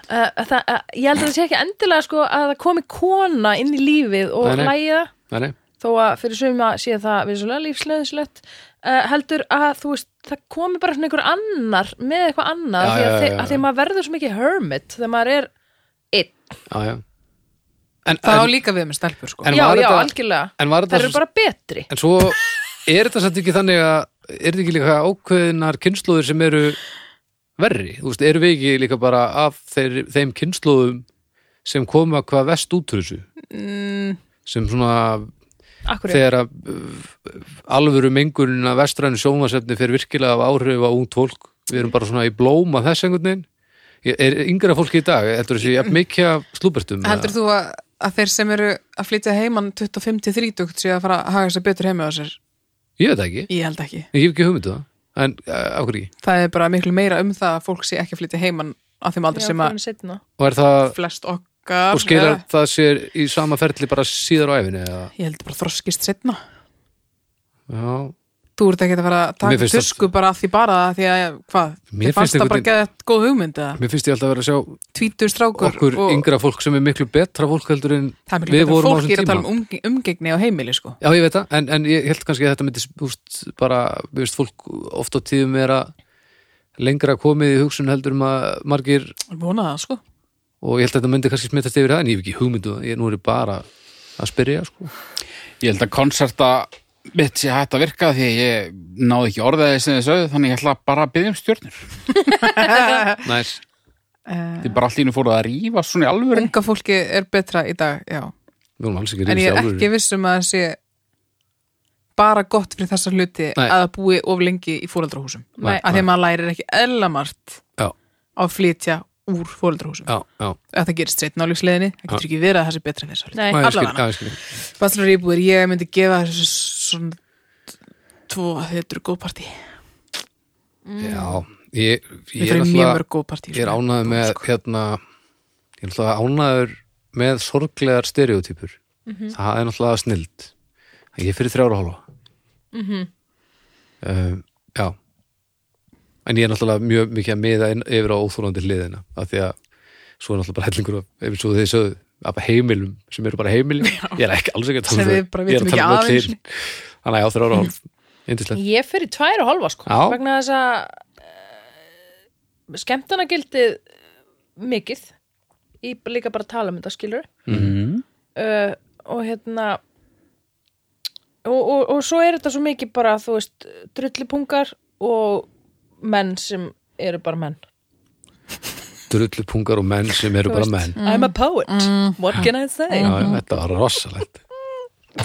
Uh, það, uh, ég held að það sé ekki endilega sko að það komi kona inn í lífið og Nei, nei. lægið það. Nei, nei. þó að fyrir suma sé það vissulega lífsleðislegt uh, heldur að þú veist það komi bara svona einhver annar með eitthvað annar Já, því að, já, þi- já, já. að því að maður verður svo mikið hermit þegar maður er einn Já, já. En, Það á en, líka við með stelpur sko. En já, var já, þetta- algjörlega, en var það þetta eru bara betri En svo er þetta samt ekki þannig að er þetta ekki líka ákveðinar kynnslóðir sem eru verri? Þú veist, eru við ekki líka bara af þeir, þeim kynnslóðum sem koma hvað vest út úr þessu? mm, Sem svona Akkur, þegar að uh, alvöru mengunin að vestrænu sjónvarsefni fyrir virkilega af áhrif á ungt fólk. Við erum bara svona í blóma þess einhvern veginn. Ég- Er yngra fólki í dag? Heldur þessi jafn mikið af slúbertum? Heldur þú að, að þeir sem eru að flytja heimann 25 til 30 séu að fara að haga sér betur heima á sér? Ég veit það ekki. Ég held ekki. Ég hef ekki hugmyndu það. En uh, af hverju ekki? Það er bara miklu meira um það að fólk sé ekki að flytja heimann á þeim aldrei sem að setna Og er það flest okkar og skilar eða- það sér í sama ferli bara síðar á æfinni eða, Ég held bara þroskist setna. já, Þú ert ekki að fara að Mér taka finnst það- tusku bara að því bara að því að hvað? Mér Mér fannst finnst það bara einhvern að geða góð hugmynd eða mér finnst ég alltaf að vera að sjá tvítur strákur okkur og- yngra fólk sem er miklu betra fólk heldur en Það er miklu við betra vorum á fólk, ég er þessum að tala tíma um umge- umgengni á heimili sko. já ég veit það, en, en ég held kannski að þetta myndi úst, bara, við veist fólk oft á tíðum er að lengra komið í hugsun heldur um að margir Vona það sko. og ég held að þetta myndi kannski smittast yfir það en ég hef ekki hugmyndu, ég nú er ég bara að spyrja sko. Ég held að konserta mitt sé hægt að virka því að ég náði ekki orðaði sem þið sögðu þannig ég ætla bara að byggja um stjórnir. Næs. Þið bara allt í einu fóruð að rífa svona í alvöru. Unga fólki er betra í dag, já. við vorum alls ekki En ég er ríðist ekki viss um að það sé bara gott fyrir þessa hluti Nei. að það búi of lengi í fóreldrahúsum. Nei. Af því að maður lærir ekki eðlamargt Já. að flytja úr fóreldrahúsum. já, já, Þetta gerist seitt nálegsleginni, það getur ekki verið að það sé betra en þess að Nei, já, ég skil, allavega. já, ég skil. Bachelor íbúðir, ég myndi gefa þessu svona tvo að þetta eru góð partí. já, ég, Mm. Við ég er fyrir mjög alltaf mörg góð partí. ég er ánæður með hérna, ég er alltaf ánæður með sorglegar stereotypur Mhm. það er náttúrulega snild ég er fyrir þrjára hálfa Mhm. um, já en ég er náttúrulega mjög mikið að miða inn, yfir á óþólandi hliðina af því að svo er náttúrulega bara hellingur af- eins og þið sögðu af heimilum sem eru bara heimili ég er ekki alls ekki að tala um Sem við þau. bara Ég er vitum að tala um ekki öll af einu hin. þannig að já, þrjára og hálf Yndislegt. Ég fyrir tvær og halva sko Já. vegna þess að uh, skemmtanagildið mikið ég b- líka bara að tala um þetta skilur -hmm. uh, og hérna og, og, og svo er þetta svo mikið bara þú veist, drullipungar og menn sem eru bara menn drullupungar og menn sem eru Þú bara veist, menn I'm a poet, what can I say já, Mhm. já, þetta var rosalegt Mm.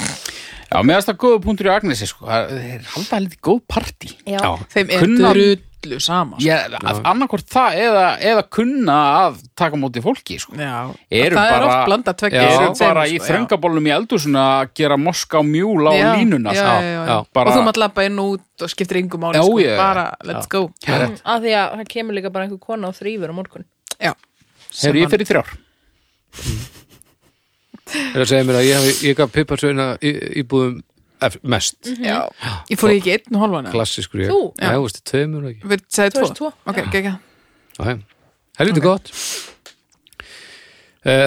Já, meðast það góða punktur í Agnesi sko. Það er halda að lítið góð partí Já. Þeim er Kunna- drullu sama. sko. Ég, annarkvort það eða, eða kunna að taka á móti fólki sko. Já, Eru það er bara- oft blanda Já. tveggja. eru þessum bara tveimur, í sko, já. þröngabólum í eldúsuna að gera moska og mjúla Já, og línuna já, sko. já, já. já, bara- og þú maður lappa inn og út og skiptir yngum máli Já, sko, já, já. bara let's go Rétt. að Mm, því að það kemur líka bara einhver kona og þrýfur á morgun já, Hefur ég fyrir þrjár er að segja mér að ég, hef, ég gaf piparsveina íbúðum ef- mest mm já. ég fór ekki einn og hálfan eða? klassískur ég Þú? Já, þú veist, tveimur og ekki við segði Þú tvo, veist tvo, ok, gegja okay. Helviti gott uh,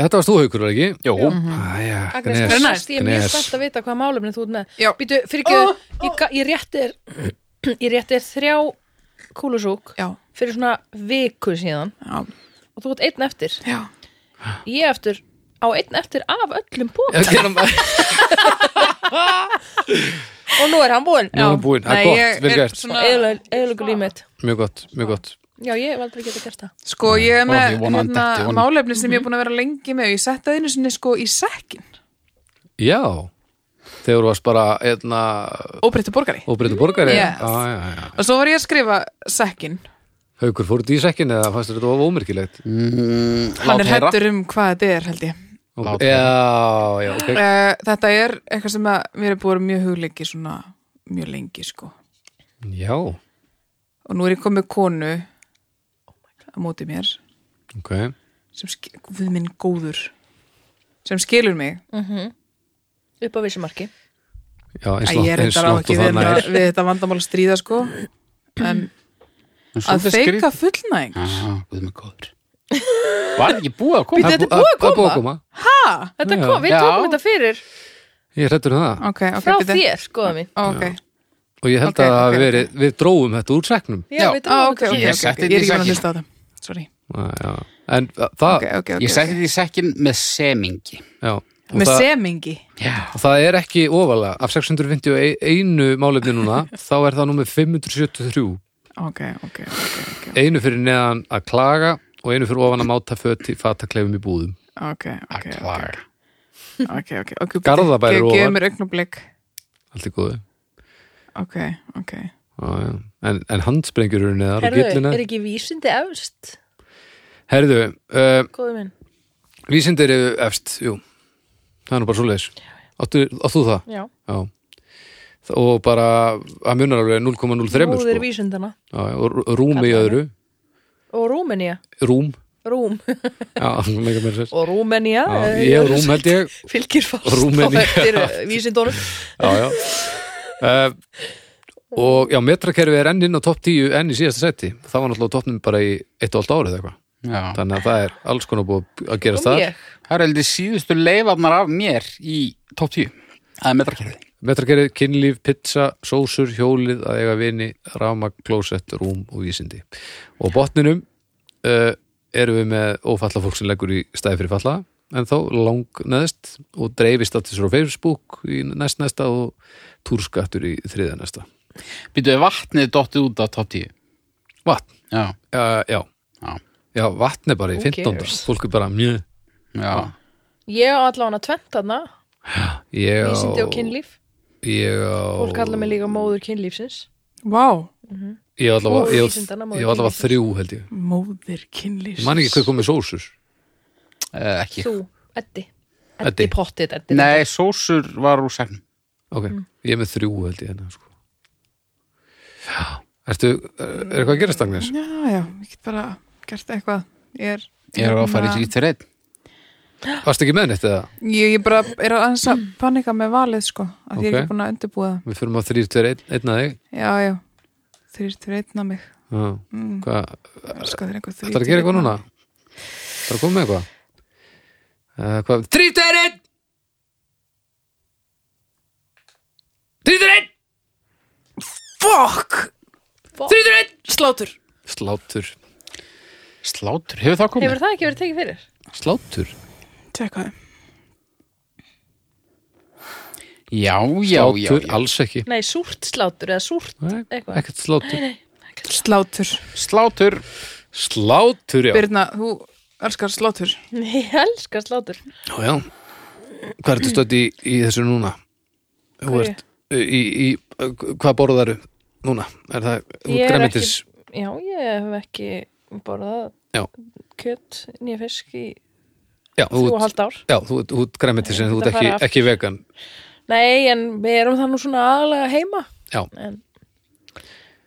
Þetta varst þú haukur, var ekki? Mhm. Jó, Æja, Agnes, Gnes, Gnes, ég er mjög Gnes. spennt að vita hvaða málefni þú ert með Já. Býtu, fyrir ekki, ég, ga- ég rétti þér ég rétti þér þrjá kúlusúk já, fyrir svona viku síðan já, og þú ert einn eftir já ég eftir, á einn eftir af öllum Ok, bók nú- og nú er hann búinn Nú er hann búinn, það er Nei, gott, ég vel er gert svona- eðlugur Svona. límit Mjög gott, mjög gott já, ég hef aldrei getað gert það sko ég er Ó, með ég vona hann hérna, detti honum. málefni sem ég er búin að vera lengi með og ég setta einu sinni sko í sekkin Já, þegar þú varst bara einna óbreyttu borgari óbreyta borgari Yes. á, já, já. og svo var ég að skrifa sekkin Haukur, fóruð í sekkin eða fannst þér þetta of ómerkilegt? Mm. hann er hættur um hvað þetta er held ég Ok. Já, já, ok uh, þetta er eitthvað sem að mér er búin mjög hugleiki svona mjög lengi sko Já, og nú er ég komið konu á móti mér ok sem, sk- guð minn góður sem skilur mig upp á vissumarki Já, eins að ég er eins þetta á langt og ekki við, það nær. þetta- við þetta vandamál að stríða sko en að feika fullnæðing Guð með góður Var ekki búið að koma? Bíddu, þetta er búið að Það er búið að koma. koma þetta Já. kom, við Já. tókum þetta fyrir Ég er hræddur um það ok, ok, frá bíddu. þér, skoða mín Ó, ok, og ég held Ok, að ok, okay, veri, við dróum þetta úr seknum já, Já. við Ah, Ó, tókum ok, ok, ok, þetta Ég ok, setti ég er ekki þetta í bara að sækinn. hlusta á það sorry, Já, já. en þa- það ok, ok, ok Ég setti því sekkin með semingi já, og með það, semingi Já, og það er ekki ofalega af 651 e- málefni núna þá er það númer 573 ok, ok, ok, ok, einu fyrir neðan að klaga og einu fyrir ofan að máta föti fatakleifum í búðum ok, ok, að klaga ok, ok, ok, bíddu. Garðabær er Ge- gefðu ofar. mér augnablik allt í góðu ok, ok, Já, já. en, en handsprengjur eru neðar og herðu, gillina er ekki vísindi efst, herðu, uh, skoða mín vísindir eru efst jú. það er nú bara svo leis áttu, áttu það? já, Já. og bara að munar alveg 0,03 móðir sko. vísindana Já, já, og rú- rúm í Kallaði. öðru og Rúmenía, rúm Rúm Já, mega mér sér. og Rúmenía Já, eh, ég og rúm held ég fylgir fast Rúmenía. á eftir eh, vísindunum já, já. Uh, og já, metrakerfi er enn inn á topp 10 enn í síðasta seti, það var náttúrulega á toppnum bara í eitt og allt árið eða eitthvað Já. þannig að það er alls konar búið að gerast og það ég, Það eru heldur síðustu leifarnar af mér í top 10 Það er metrakerfið metrakerfi, kynlíf, pizza, sósur, hjólið að eiga vini, rama, klósett, rúm og vísindi og á botninum uh, erum við með ófalla fólk sem leggur í stæði fyrir falla en þá lang neðst og dreifist statusur á Facebook í næst næsta og túrskattur í þriða næsta Býtu, er vatnið dottið út af top 10 vatn, Já, uh, já já, Já, vatn er bara í Who 15. cares? Fólk er bara mjög já ég á allan að tvent þarna Ég á vísindi og kynlíf Ég á fólk kallar mig líka móður kynlífsins wow Ég var Og allavega, ég, vísindana, var- móðir ég var allavega kynlífsins. þrjú held ég Móðir kynlýs Ég man ekki hvað komið sósur Eh, ekki. Þú, Eddi Eddi. Eddi pottit, Eddi Nei, sósur var úr segnum. Ok, ég er með þrjú held ég hérna, sko. Já, ertu, er er eitthvað að gera stangnes? Já, já, ég get bara gert eitthvað Ég er, Ég er að fara í hérna- þrýtt fyrir einn. Varstu ekki með neitt eða? Ég, ég bara er aðeins að panika með valið sko, að ég er Ok. ekki búin að undirbúa það. Við fyrir á þrjú, tveir, einn, einn að þig Já, já, þrýr til einna mig. Já, Mm, hvað, elska þér einhver þrýr ætlar að gera eitthvað núna? Það er að koma með eitthvað? Uh, hvað, þrjú, tveir, einn! Þrjú, tveir, einn! Fuck! Þrjú, til einn! Slátur. Slátur, Slátur, hefur það komið? Hefur það ekki verið tekið fyrir? slátur Tjekka það. Já, já, já, Slátur, já. alls ekki Nei, súrt slátur eða súrt Nei, eitthvað. Ekkert slátur Slátur. Slátur, Slátur, já, Birna, þú elskar slátur. Ég elska slátur já, já. Hvað ertu stödd í, í þessu núna? Þú Hverju? ert í, í hvað borðaru núna? Er það Ég er græmitis? Já, ég hef ekki borðað Já. kjöt, nýja fisk í Já, þú þrjú og ert- hálft ár já, þú ert- þú ert græmitis en Ég þú ætla ert að ekki, fara aftur. ekki vegan Nei, en við erum það nú svona aðalega heima Já. En,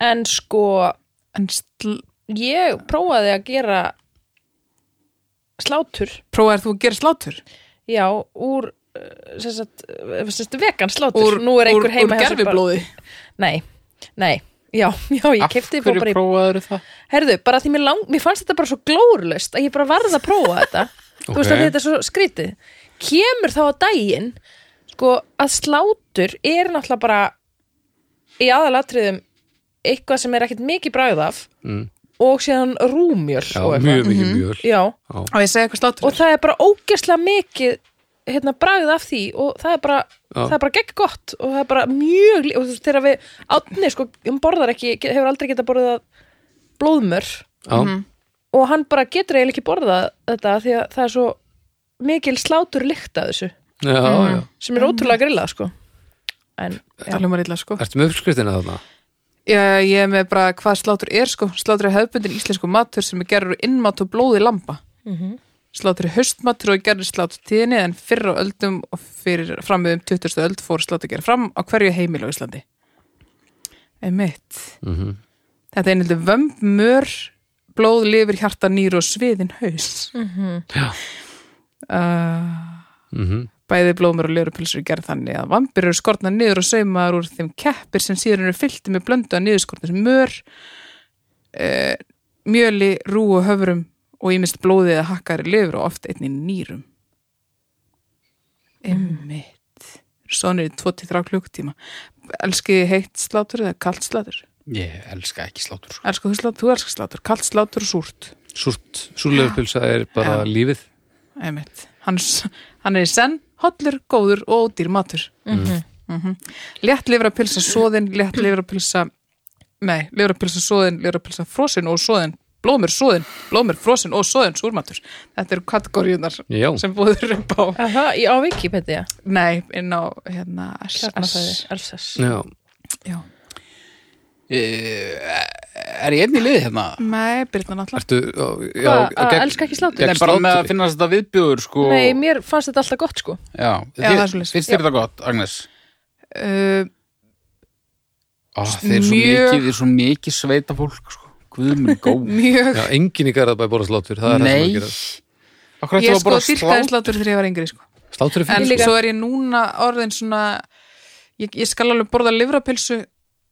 en sko, En sl... ég prófaði að gera slátur prófaðir þú að gera slátur? Já, úr eh, sem sagt, eh, sem sagt, vegan slátur Úr, Nú er einhver úr, heima úr hjá sér bara- gerfiblóði. Nei, nei, já, já, ég af kefti bara hverju bara í prófaður það? Herðu, bara því mér, lang, mér fannst þetta bara svo glórulöst að ég bara varð að prófa þetta Þú veist Ok. að þetta er svo skrítið Kemur þá að daginn sko, að slátur er náttúrulega bara í aðalatriðum eitthvað sem er ekkert mikið bræð af mm. og síðan rúmjöl Já, og, eitthvað. mjög Mhm. mikið mjöl Já, Og ég segja eitthvað slátur. og það er bara ógeslega mikið hérna, bræð af því og það er bara Já. það er bara gegn gott og það er bara mjög lí- og þú veist þegar við átni sko, hún borðar ekki, hefur aldrei getað borðað blóðmör Já, Mhm. og hann bara getur eiginlega ekki borðað þetta af því að það er svo mikil slátur lykt að þessu já, já Mhm. sem er ótrúlega grillað sko en já, Það hljómar illa, sko. Ertu með uppskriftina þarna? Já, ég er með bara hvað slátur er sko. Slátur er hefðbundin íslensku matur sem er gerður úr innmat og blóði lamba. Slátur er höstmatur og gerður slátur tíðinni en fyrr á öldum og fyrir framöðum 20. öld fór slátur gerð fram á hverju heimil á Íslandi. Einmitt. Mhm. Þetta er einhildi vömb, mör, blóð, lifir, hjarta, nýr og sviðin haus. Uh, Mm Já. Mhm. Bæði blómur og lörupilsur gerð þannig að vampir eru skortna niður og saumaðar úr þeim keppir sem síðan eru fyllti með blöndu að niðurskortna sem mör, eh, mjöli, rú og höfrum og ímist blóðið að hakkar í lifur og oft einnig nýrum. Einmitt. Sónir í 2-3 klukkutíma. Elskið þið heitt slátur eða kalt slátur? Ég elska ekki slátur, sko. Elskuð þú slátur, þú elskar slátur. Kalt slátur og súrt. Súrt, súrleifupilsa er bara lífið Einmitt. Hann, s- hann er í senn, hollur, góður og ódýr matur. Mm Mhm. -hmm. Létt lifra pilsa sóðin, létt lifra pilsa, nei, lifra pilsa sóðin, lifra pilsa frósin og sóðin, blómur sóðin, blómur frósin og sóðin, súrmatur. Þetta eru kategóriunar Já, sem búður upp á, aha, í- á Wikipedia nei, inn á, hérna, kjarnafæði, SS. elsess já, Já. Eh, Er ég einn í liði hérna? Nei, Birna náttúrulega. ertu já, já, Hvað, að gegn- Ah, elska ekki slátur? gegn Nei, bara með að slátri. finna þetta viðbjöður, sko. nei, mér fannst þetta alltaf gott sko Já, Já, það er svoleiðis. Finnst þér þetta gott, Agnes? Uh, Ó, þeir eru svo Mjög- mikið, þeir eru svo mikið sveita fólk, sko. Guð minn góð. mjög. Já, engin í Garðabæ borða slátur Það er það sem Nei. er að gera Akkur Ég ætlaðu sko bara að dýrkaði slá? slátur þegar ég var yngri, sko. Slátur er sko. En fyrir svo er ég núna orðin svona, ég, ég skal alveg borða livrapilsu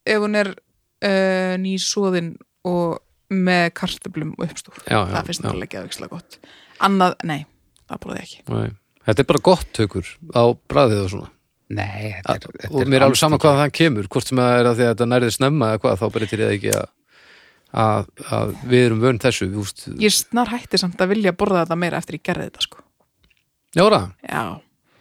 ef hún er uh, nýsóðin og með kartöblum og uppstúr. Já, já, það finnst já. mér alveg geðvikslega gott. Annað, nei, það borði ég ekki. Nei. Þetta er bara gott haukur á bræðið og svona Nei, þetta Ah, er... þetta og mér er alveg alls sama ekki- hvað það kemur hvort sem það er að því að þetta nærði snemma eða hvað þá breytir það ekki að, að, að við erum vörn þessu við úst, Ég snar hætti samt að vilja borða þetta meira eftir ég gerði þetta, sko. Jóra, Já,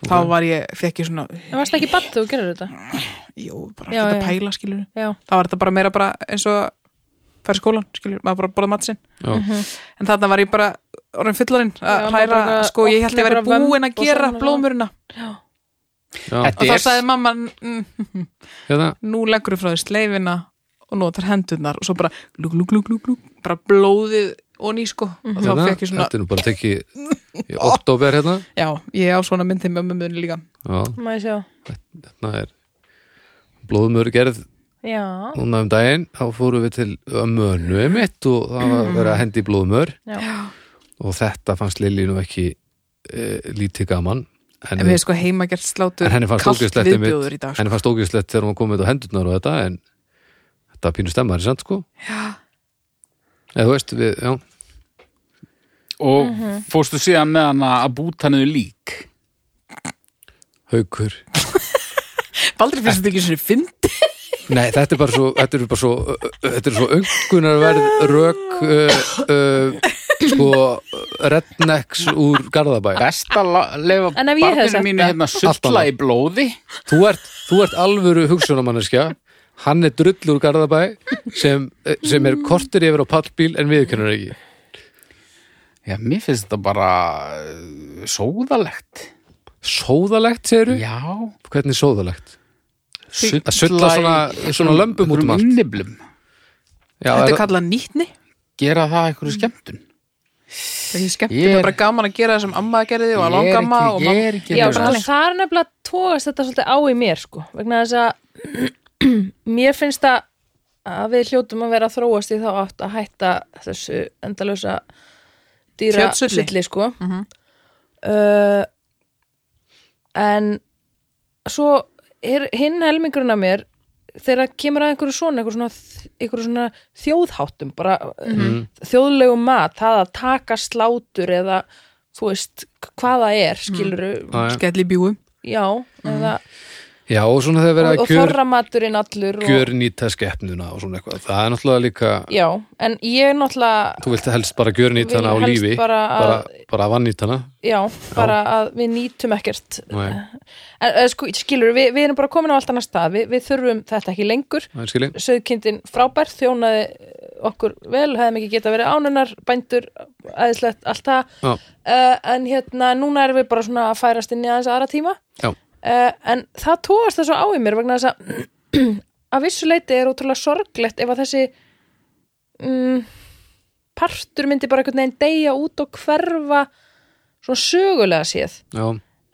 þá var ég, fekk ég svona, það varst ekki bann þú gerir þetta jú, bara Já, þetta já. pæla, skilur. já, Það var þetta bara meira bara eins og að fara í skólan, skilur, maður bara borða matsinn. já, En þarna var ég bara orðin fullarinn að Mhm. Já, hræra, bara sko, ég held ég væri opna bara búin að vömb og gera svona. blómurina. já, Og Þetta þá er- sagði mamma, mm, hérna nú leggur þú frá því sleifina og og notar hendurnar og svo bara lúk, lúk, lúk, lúk, lúk bara blóðið og ný sko Mhm. og þá Hérna, fekk ég svona, Þetta er nú bara tekið í oktober hérna já, ég á svona myndið með mömmunni líka Já, Má ég sjá? hérna er blóðmör gerð Já, núna um daginn þá fórum við til ömmu mitt og það var verið að hendi í blóðmör já, og þetta fannst Lilju nú ekki e, lítið gaman en, en við sko heima gert slátur en henni fannst kalt ógjörslegt viðbjóður í dag sko. henni fannst ógjörslegt þegar hún komið á hendurnar og þetta en þetta pínu stemmar, sant sko? Já Eða þú veist, við, já og Mhm. fórstu síðan með hana að búta niður lík Haukur Baldur finnst þetta ekki svona fyndi Nei, þetta er bara svo þetta er bara svo, ö- ö- þetta er svo ungunarverð rök uh, uh, sko rednecks úr Garðabæ best að la- leyfa En ef ég hefði barninu sagt mínu það- hérna Allt sulla annað. í blóði þú ert, þú ert alvöru hugsunamanneskja hann er drullur úr Garðabæ sem, eh, sem er kortir yfir á pallbíl en viðkennur ekki já, mér finnst þetta bara eh, sóðalegt sóðalegt, segirðu? já, Hvernig sóðalegt? sulla, Að sulla svona- svona lömbum út um allt. inniblum, Já, Þetta er það- kallað nýtni gera það einhverju Mm. skemmtun Það er skemmt, Ég það er- er bara gaman að gera það sem amma gerði og Ég að er langamma ekki- og ég er mamma ekki já nefnilega. sko, það er nefnilega tógast þetta svolítið á í mér sko, vegna þess að mér finnst að, að við hljótum að vera að þróast í þá átt að hætta þessu endalösa dýra Kjötsulli. sulli, sko uh, en svo er hinn helmingurinn að mér þegar kemur að einhverju svona einhverju svona, einhverju svona þjóðháttum bara mm þjóðlegum mat það að taka slátur eða þú veist hvaða er skiluru Já, já. Skelli í bjúu já, eða, já, og svona þegar verið og, að og Mm. gjör, þorramaturinn allur og, gjör nýta skeppnuna og svona eitthvað, það er náttúrulega líka já, en ég náttúrulega þú vilt helst bara gjör nýta hana á Vil helst lífi bara að- bara, bara vannýta hana já, bara að við nýtum ekkert en, Nei, en sko, skilur, við, við erum bara komin á allt annað stað við, við þurfum þetta ekki lengur það er skilji söðkindin frábær, þjónaði okkur vel, hefðum ekki geta verið ánunar bændur, aðeinslegt, allt það Já. uh, en hérna, núna erum við bara svona að færast inn í aðeins aðra tíma Já. Eh, en það tóast það svo á í mér vegna þess að að vissu leiti er ótrúlega sorglegt ef að þessi mm, partur myndi bara einhvern veginn deyja út og hverfa svona sögulega séð Já.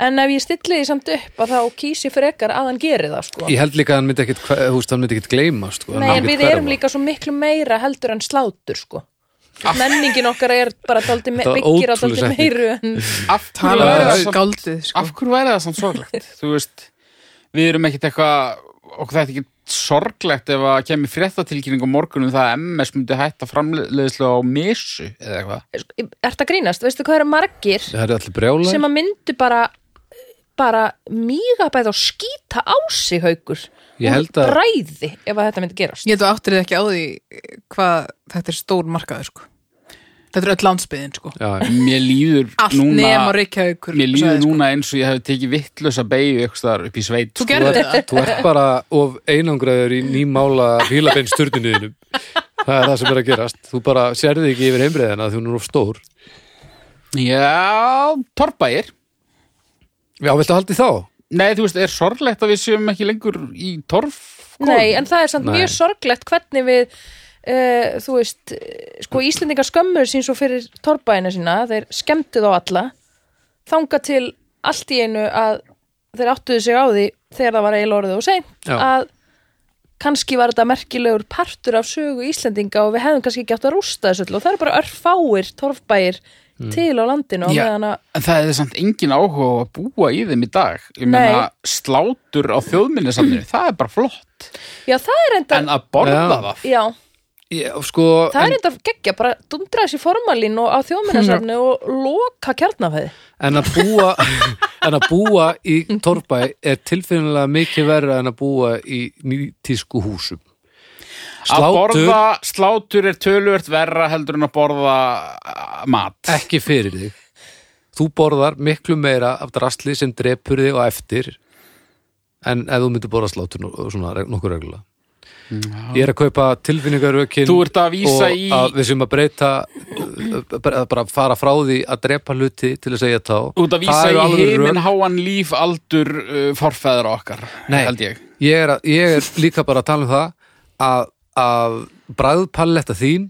en ef ég stilli því samt upp að þá kýsi frekar að hann geri það sko Ég held líka að hann myndi ekkit, hve- þú veist, hann myndi ekkit gleymast sko, hann Nei, myndi en ekkit við erum hverfa. líka svo miklu meira heldur en slátur sko menningin okkar er bara daldi me Það Ah. var byggir á ótrúleg daldi setning. meiru en, af hverju Tala væri verið það að samt- skáldið sko. af hverju væri það samt sorglegt þú veist, við erum ekkit eitthvað okkur þetta ekki sorglegt ef að kemur fréttatilkynning á morgunum það að MS myndi hætta framleiðslu á misu eða eitthvað ert að grínast, veistu hvað eru margir Það er allir brjála sem að myndu bara bara mýga bæð og skýta á sig haukur Ég Úr held að- bræði ef að þetta myndi gerast Ég held að áttir þið ekki á því eh, hvað þetta er stór markaður sko. Þetta er öll landsbyðin sko. Já, já. Mér líður Allt núna nema Reykjavíkur Mér líður svæðið, sko. núna eins og ég hef tekið vittlösa beigju eitthvað þar upp í sveit Þú sko. Þú gerðir þetta ert- Þú ert bara of einangraður í nýmála hýlabein styrninuðinum Það er það sem er að gerast Þú bara sérði ekki yfir heimreiðina því hún er of stór Já, torrbæir Já, viltu haldi þá? Nei, þú veist, er sorglegt að við séum ekki lengur í torf Nei, en það er samt Nei. mjög sorglegt hvernig við uh, þú veist, eh, sko Íslendingar skömmur sín svo fyrir torfbæina sína þeir skemmtu þá alla þanga til allt í einu að þeir áttuðu sig á því þegar það var eiginlega orðið og seint Já. að kannski var þetta merkilegur partur af sögu Íslendinga og við hefðum kannski ekki átt að rústa þessu öllu og það eru bara örfáir torfbæir til á landinu og Já. meðan að En það er samt engin áhuga á að búa í þeim í dag Ég meina, slátur á þjóðminnisamninu, það er bara flott já það er enda En að borða Já. það já, Já, sko það en, er enda geggja bara dundra þessi formalín og á þjóðminnasafni og loka kjarnafæði en að búa En að búa í torfbæ er tilfinnilega mikið verra en að búa í nýtísku húsum Að Slátur borða, slátur er töluvert verra heldur en að borða uh, mat ekki fyrir þig Þú borðar miklu meira af drasli sem drepur þig og eftir en ef þú myndir borða slátur nú- svona reg- nokkuð reglulega Ég er að kaupa tilfinningarökin Mm, Þú ert að vísa og í- að við sem að breyta uh, bara, bara fara frá því að drepa hluti til þess að ég tá Út að vísa í heiminn háan líf aldur uh, forfæðra okkar, Nei, held ég ég er, að, ég er líka bara að tala um það að að bræðpalletta þín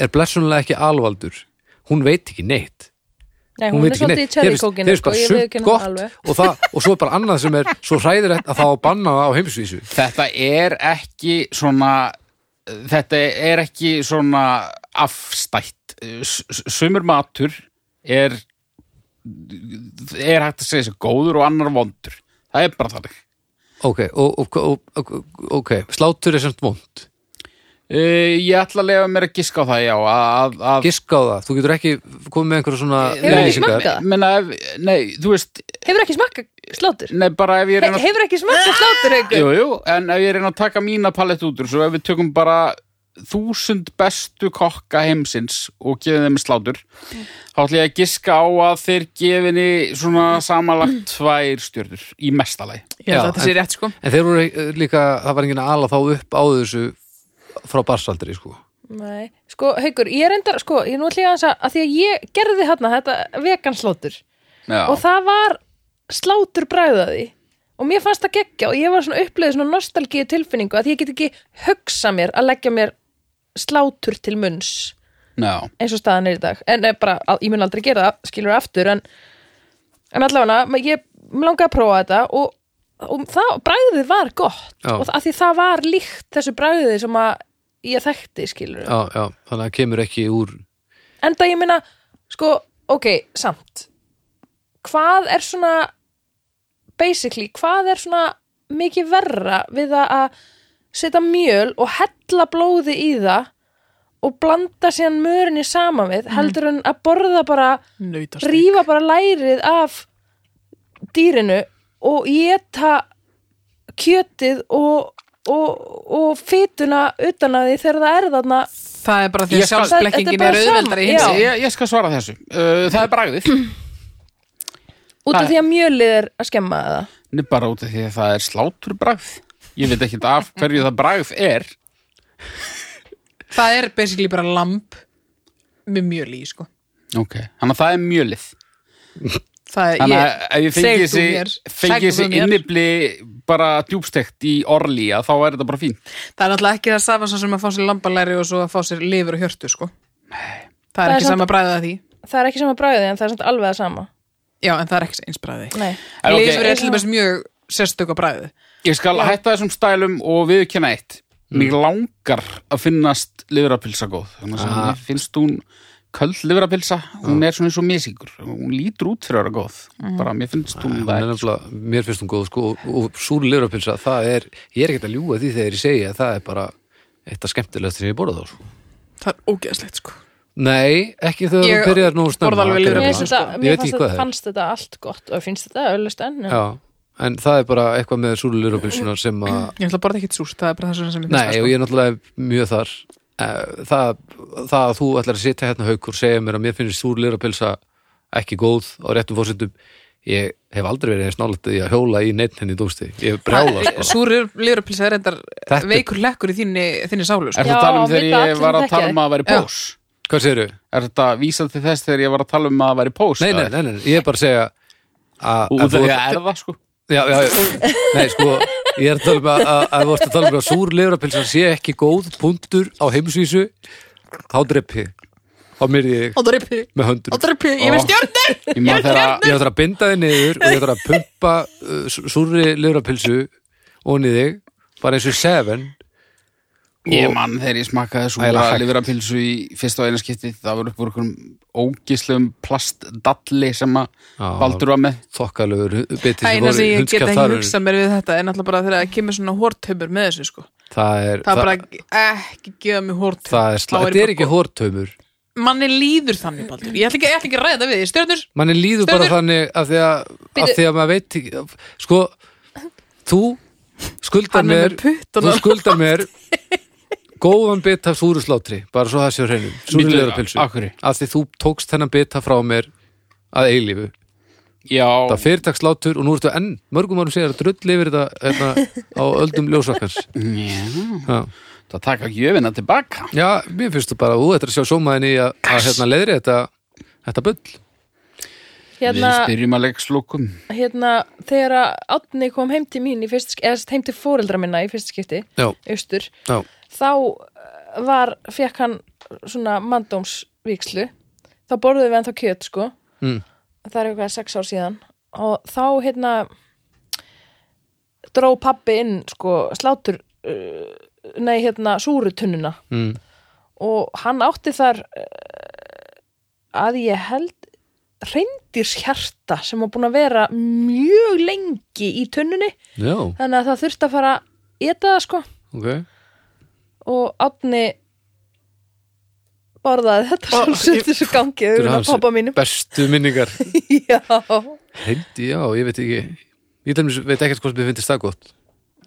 er blessunlega ekki alvaldur hún veit ekki neitt Nei, hún, hún, veit er ekki svolítið í neitt, Hefur- cherrykókinu hefur bara ég sumt viðurkenni það gott alveg. og, það, og svo er bara annað sem er svo hræðilegt að það á að banna það á heimsvísu Þetta er ekki svona þetta er ekki svona afstætt S- s- sumur matur er er hægt að segja sér góður og annar vondur það er bara þannig ok, og, og, og, og ok, slátur er semt vond Uh, ég ætla að lefa mér að giska á það, já að, að, giska á það, þú getur ekki komið með einhverja svona Hefur ekki lýsingar. smakkað? það? menna, ef, nei, þú veist Hefur ekki smakka slátur? nei, bara ef ég He, reyna hefur ekki smakka slátur jú, haukur? jú, en ef ég reyna að taka mína palett út úr, svo ef við tökum bara þúsund bestu kokka heimsins og gefið þeim slátur Mm. þá ætla ég að giska á að þeir gefinni svona samanlagt tvær stjörnur í mestalagi Ég held Já, að þetta sé rétt sko en þeir voru eh, líka, það var enginn að ala þá upp á þessu frá barsaldri sko. Nei, sko haukur, ég reyndar, sko, ég nú ætla ég aðeins að, að því að ég gerði þarna þetta vegan slátur og það var slátur bræðaði og mér fannst það geggja og ég var svona upplegið svona nostalgíu tilfinningu að ég get ekki hugsa mér að leggja mér slátur til munns Já, eins og staðan er í dag en eh, bara, að- ég mun aldrei gera það, skilur aftur en, en allavega, ma- ég mig langaði að prófa þetta og, og það, bragðið var gott Já. og það, að því það var líkt þessu bragðið sem að ég þekkti, skilur já, já, þannig að það kemur ekki úr en það ég minna, sko, ok, samt hvað er svona basically, hvað er svona mikið verra við það að setja mjöl og hella blóði í það og blanda síðan mörinni saman við heldur en að borða bara Nautast rífa bara lærið af dýrinu og geta kjötið og, og, og fytuna utan að því þegar það er þarna Það er bara því Ég að skal- Þetta er sjálfsblekkingin bara er auðveldar í sama, hinsi ég, ég skal svara þessu uh, Það er bragðið út af Það- því að mjölið er að skemma það Nei, bara út af því að það er slátur bragð Ég veit ekki af hverju það bragð er Það er basically bara lamp með mjöl í sko Ok, þannig að það er mjölið Það er Þannig ég, að ef ég segðu fengi þú mér, þessi, fengi segðu þessi þú mér. innibli bara djúbstekt í orli að þá er þetta bara fín Það er náttúrulega ekki það sama svo sem að fá sér lambalæri og svo að fá sér lifur og hjörtu sko Það Það er er ekki samt- sama bræðið að því það er ekki sama bræðið en það er samt alveg að sama Já, en það er ekki eins bræðið Nei. En ok, Lifur er til dæmis mjög sérstök á bræðið Ég skal hætta þessum stælum og við kenna eitt Mm. Mér langar að finnast livrapilsa góð þannig að Ah. mér finnst hún köld livrapilsa hún er svona eins og misingur hún lítur út fyrir að vera góð Mhm. bara mér finnst hún Hún er það nefnilega, mér finnst hún góð sko, og, og súri lirapilsa, það er ég er ekkert að ljúga því þegar ég segi að það er bara eitt af skemmtilegast sem ég borða þá sko. Það er ógeðslegt sko Nei, ekki þegar Ég þú byrjar nú snemma borða alveg sko. að gera mér, lifrarpylsu, það. sko. finnst þetta, Ég mér veit fannst ekki hvað það þetta, er fannst þetta allt gott og finnst þetta öllust enn en- Já, en það er bara eitthvað með súri lirapilsuna sem að Ég ætla að borða ekkert súrt, það er bara það sem ég finnst Nei, og ég er náttúrulega mjög þar Eh, það, það að þú ætlar að sitja hérna haukur og segja mér að mér finnst súr lirapilsa ekki góð á réttum fórsendum ég hef aldrei verið eins nálægt því að hjóla í neitt henni í dómsti ég brjála sko Súri lifurpilsa er endar Þetta er- veikur lekkur í þínni, þínni sálu Er sko. Já, þetta tala um vita þegar allir ég var að þekkja tala um þig. að vera í Já. pós? Hvað segirðu? Er þetta vísað til þess þegar ég var að tala um að vera í pós? Nei, nei, nei, nei, ég er bara að segja að- Út að af því þú- að er það sko Já, já, já, nei, sko ég er að tala um að, að, að, að, að tala um að súr lirapilsa sé ekki góð punktur á heimsvísu þá dreppi þá myrði ég Á drippi, með á höndunum drippi, ég Ó. vil stjörnir Ég maður þegar ég ætla að binda þig niður og ég ætla að pumpa uh, sú- súrri lifrapilsu onni þig, bara eins og seven Ég mann þegar ég smakaði Ægilega súra hægt. livrapilsu í fyrsta og eina skipti það var upp úr einhverjum ógislegum plastdalli sem að Já. Baldur var með þokkalögur uh, bitið sem Það eina voru sem í ég get ekki hundskjaftarum. hugsað mér við þetta er náttúrulega bara þegar það kemur svona hórtaumur með þessu sko. það er, Það það, er bara ekki gefa mig hórtaumur það er, sla, þetta er ekki hórtaumur Manni líður þannig, Baldur Ég ætla ekki, ég ætla ekki að ræða það við, þig. stjörnur manni líður bara Stjörnur. þannig af því að, af Bíddu. því að maður veit ekki sko, þú skuldar Hann er með mér puttana. þú skuldar mér góðan bit af súru slátri bara svo það séu hreinum, súru Bíddu, lifrapilsu af hverju? af því þú tókst þennan bita frá mér að eilífu Já, Það fyrirtakslátur og nú ertu enn mörgum árum segir að drull yfir þetta hérna, á öldum ljósvakkans Já, Já. það taka gjöfina tilbaka Já, mér finnst þú bara, ú, þetta er að sjá sómaðin í að, að hérna, leiðri þetta, þetta bull hérna, Við spyrjum að leikslokum hérna, þegar að Átni kom heim til mín í fyrst, eða sem sagt heim til fóreldra minna í fyrst skipti Já, austur, já, þá eh, var, fekk hann svona mandómsvíkslu þá borðuðum við ennþá kjöt sko Mm. það er eitthvað sex ár síðan og þá hérna dró pabbi inn sko slátur uh, nei hérna súrutunnuna mm. og hann átti þar eh, að ég held reyndirshjarta sem var búin að vera mjög lengi í tunnunni Já, þannig að það þurfti að fara að eta það sko ok og Átni borðaði þetta Ó, sem sett þessu gangi Þetta eru auðvitað hans pappa mínum Bestu minningar já, Hendi, já, ég veit ekki Ég dæmis, veit ekkert hvort mér finnst það gott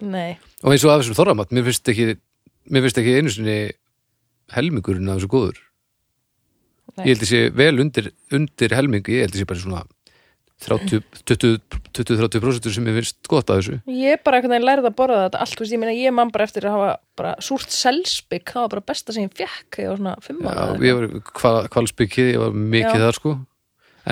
nei, Og eins og af þessum þorramat, mér finnst ekki Mér finnst ekki einu sinni helmingurinn af þessu góður Nei. Ég held þessi vel undir, undir helming Ég held þessi bara svona 30 20 20-30% sem mér finnst gott af þessu ég er bara einhvern veginn lærið að borða þetta allt, þú veist, ég meina ég man bara eftir að hafa bara súrt selspik, það var bara besta sem ég fekk þegar ég var svona fimm Já, ára eða ég var hval, kvalsbyggið, ég var mikið Já. þar sko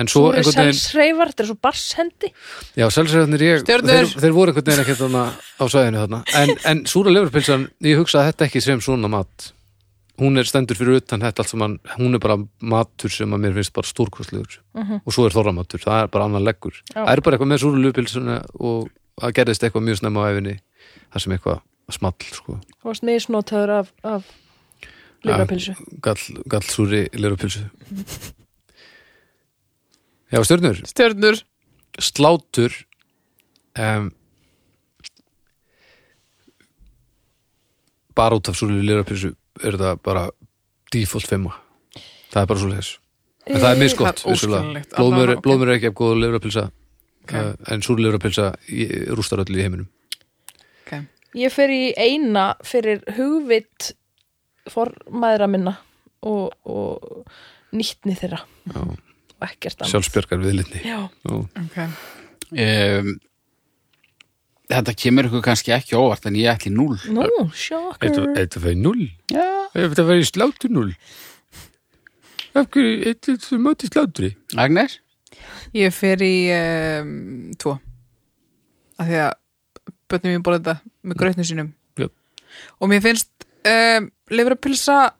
En svo Súri einhvern veginn selsreifar, þetta er svo barsendi Já, selsræðarnir ég, Stjörnur! þeir, þeir voru einhvern veginn ekkert þarna á svæðinu þarna En, en súra lefurpilsan, ég hugsa þetta ekki sem svona mat Hún er stendur fyrir utan þetta allt sem hann, hún er bara matur sem að mér finnst bara stórkostlegur Og svo er þorramatur, það er bara annan leggur Já. Það er bara eitthvað með súra lefurpilsuna og það gerðist eitthvað mjög snemma á æfinni Það sem eitthvað small, sko Þú varst misnotaður af, af lifrapilsu Gall, gallsúri lefurpilsu Já, stjörnur Stjörnur slátur um, bara út af svolítið lirapilsu er það bara default 5 það er bara svolítið þess en það er misgott, Það er óskiljanlegt. blóðmur, Allavega, ok. blóðmur er ekki af góða lirapilsa Ok. okay. en súri lirapilsa rústar öllu í heiminum okay. Ég fer í eina fyrir hugvit formæðra minna og, og nýttni þeirra Já. og ekkert annað sjálfsbjörgar viðlitni Já, Okay. um, Þetta kemur ykkur kannski ekki á óvart en ég ætli núl nú, sjokkar Þetta fæði 0 Já. Þetta fæði slátur 0 Af hverju, þetta er mæti slátri Agnes? Ég fer í um, tvo af því að bönnum ég borða þetta með grötnum sínum Mm. Já. og mér finnst um, lifrapilsa uh,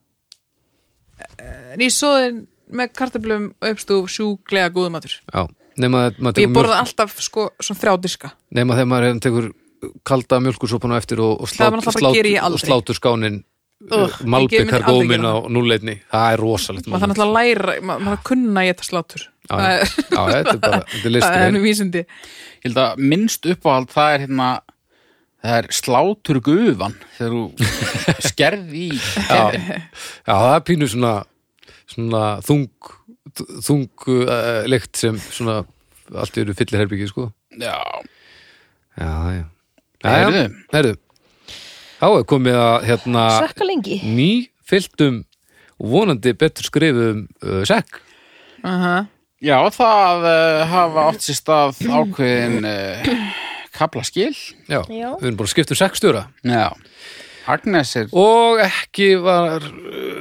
eh, nýsóðin með kartablum uppstúf sjúklega góðum matur Já, nema að maður Ég tekur mjólk- borða alltaf sko svona þrjá diska nema þegar maður hérna tekur kalda mjölkursopuna eftir og, og, Það slát, var náttúrulega bara slát, geri ég og aldrei. slátur skánin uh, Ugh, ég myndi malbikar aldrei gómin gera á núleitni það er rosalegt maður þarf náttúrulega að læra, maður maður þarf að kunna að geta slátur Mm. Já, já. Já, þetta er bara, þetta er það er listur nú vísindi Ég held að minnst uppáhald það er hérna það er slátur gufan þegar þú skerð í já, já, það er pínu svona svona þung þung uh, lykt sem svona allt eru fyllir herbyggi sko Já, já, já, já, já, Heyrðu. herðu þá er komið að hérna Sekka lengi ný fylltum vonandi betur skrifum uh, sekk uh já það uh, hafa átt sér stað ákveðin uh, kaplaskil já, Já. við erum bara að skipta um sekkstjóra Já, Agnes er og ekki var uh,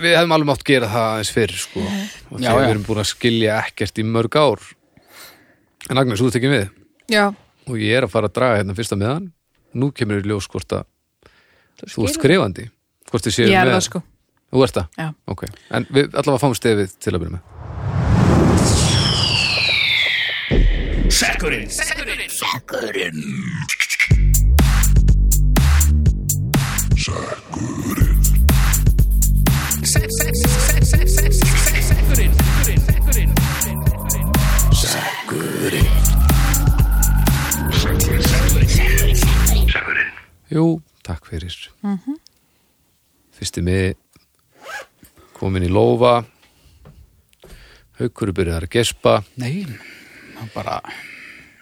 við hefum alveg mátt gera það aðeins fyrir sko. og Já, þegar já. við erum búin að skilja ekkert í mörg ár en Agnes, þú tekið við já, og ég er að fara að draga hérna fyrsta meðan nú kemur í ljós hvort að þú ert skilur. skrifandi hvort þið séu ég er með það sko þú ert það, Já. ok en við allavega fáum stefið til að byrja með jú, takk fyrir fyrsti með komin í lófa haukur er byrjaðar að gespa Nei, hann bara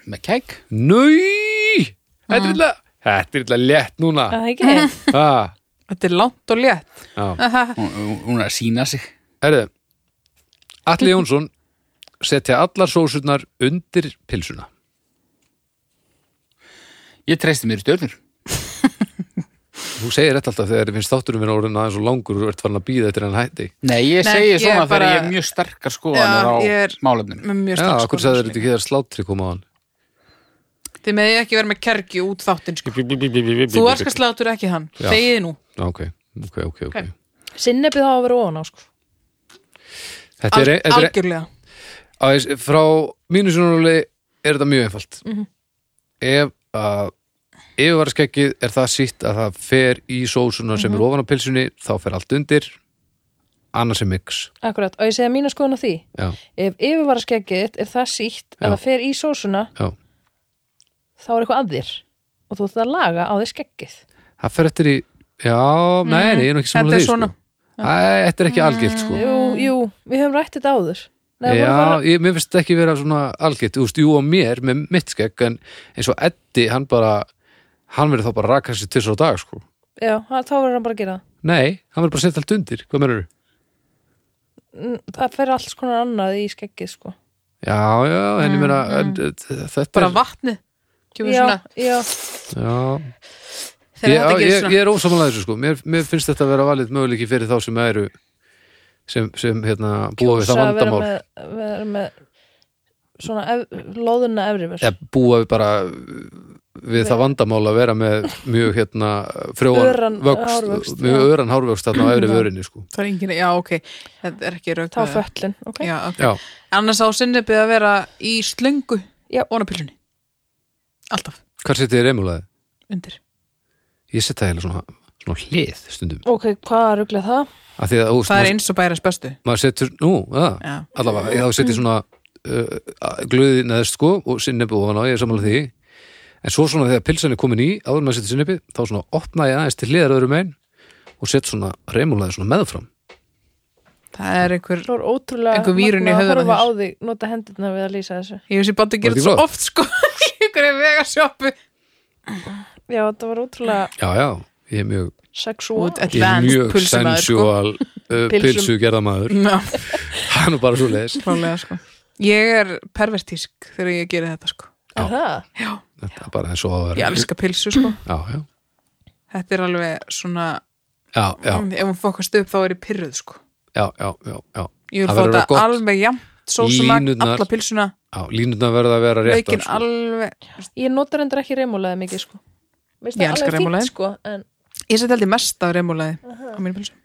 með kæk Nau! Þetta er illa, þetta er illa létt núna. Það er ekki Ah, þetta er langt og létt já. hún, hún er að sína sig Herðu, Atli Jónsson setja allar sósurnar undir pilsuna. Ég treysti mér í stjörnur Þú segir þetta alltaf þegar þér finnst þátturum minn orðin aðeins og langur og þú ert farin að býða eftir hann hætti. Nei, ég Nei, segi ég svona bara- þegar ég hef mjög starkar Já, skoðanir á ég er- Mm. málefninu með mjög sko, Já, sterk okkur sagði þetta ekki þegar slátri kom á hann. þið meði ekki vera með kergi út þáttinn sko. þú elskar slátur ekki hann, Já. þegið nú ok, ok, ok, ok. Ok. Sinnebið þá að vera ofan á sko Þetta er, e- þetta er, algjörlega aðeins, frá mínu sjónarúli er þetta mjög einfalt Mhm. ef að yfirvaraskeggið er það sýtt að það fer í sósuna sem Mhm. er ofan á pilsunni þá fer allt undir annars er mix Akkurat, og ég segja mína skoðun á því já, Ef yfirvara þitt er það sítt Já. að það fer í sósuna já. þá er eitthvað að þér og þú ætti að laga á þér skeggið það fer eftir í já, nei, nei, ég er nú ekki Mhm. Þetta samlega er því svona. Mhm. sko. Æ, þetta er ekki algift sko. Jú, jú, við höfum rætt þetta áður Nei, voru Já, bara- ég, mér finnst þetta ekki vera svona algitt, þú veist, jú og mér með mitt skegg en eins og Eddi, hann bara hann verður þá bara að raka sér til svo dag sko. já hann- þá verður hann bara að gera það nei, hann verður bara að setja allt undir hvað mennur Mm, Það fer alls konar annað í skeggið sko Já, já, en ég meina Mm, en, eh, þetta bara er vatni kemur Já, svona já, já, þegar ég, þetta gerir ég, svona ég er ósamanlega þessu sko mér, mér finnst þetta að vera valið möguleiki fyrir þá sem eru sem, sem hérna búa við kjósa það að vera vandamál með, vera með svona ef, loðuna efrifur eða búa við bara uh, við það vandamál að vera með mjög hérna frjóan Öran vöxt, hárvöxt, mjög já. öran hárvöxt þarna á efri vörinni sko það er engin, já ok, þetta er ekki rauk Tá föllin, ok? já, okay. Já, annars á sinnebið að vera í slöngu Já. ónapillunni alltaf hvað setið þið reymulaði? undir Ég setja það heila svona, svona hlið stundum Ok, hvað er ruglað það? að því að þú veist, það er maður- eins og bæra spöstu maður setur, nú, það já, allavega, ég þá setið svona uh, glöði neðst sko og sinnebi ofan á, ég er sammála því en svo svona þegar pilsan er komin í, áður en maður setið sinnebi þá svona opna ég aðeins til hliðar öðrum einn og set svona reymulaði svona meðfram það er einhver Þú er ótrúlega Einhver vírun í magnað höfðinu að horfa á á þig, nota hendurna við að lýsa þessu ég veist ég bátti að gera Var þetta þetta svo flott? oft sko í einhverju vegasjópu Já, þetta var ótrúlega já, já, ég er mjög, sexuál Út, ég er mjög pulsumaður, sko. sensual uh, Pilsum. pilsu gerðamaður Já, það er nú bara svo leis klálega, sko. ég er pervertísk þegar ég gera þetta sko. Er það? þetta er bara eins og að ég vera já, elska pilsu sko. já, þetta er alveg svona já, já, ef hún fokast upp þá er ég pyrruð sko. já, já, já, já. ég vil Það fá verður að vera þetta gott. alveg jæmt sósumak, Línurnar. alla pilsuna já línutna verða að vera sko. rétt veikin alveg Ég nota reyndar ekki reymúlega mikið sko Veist Ég það elska alveg fínt reymulaði. sko en ég seti held ég mest af remúlaði á mínu pilsu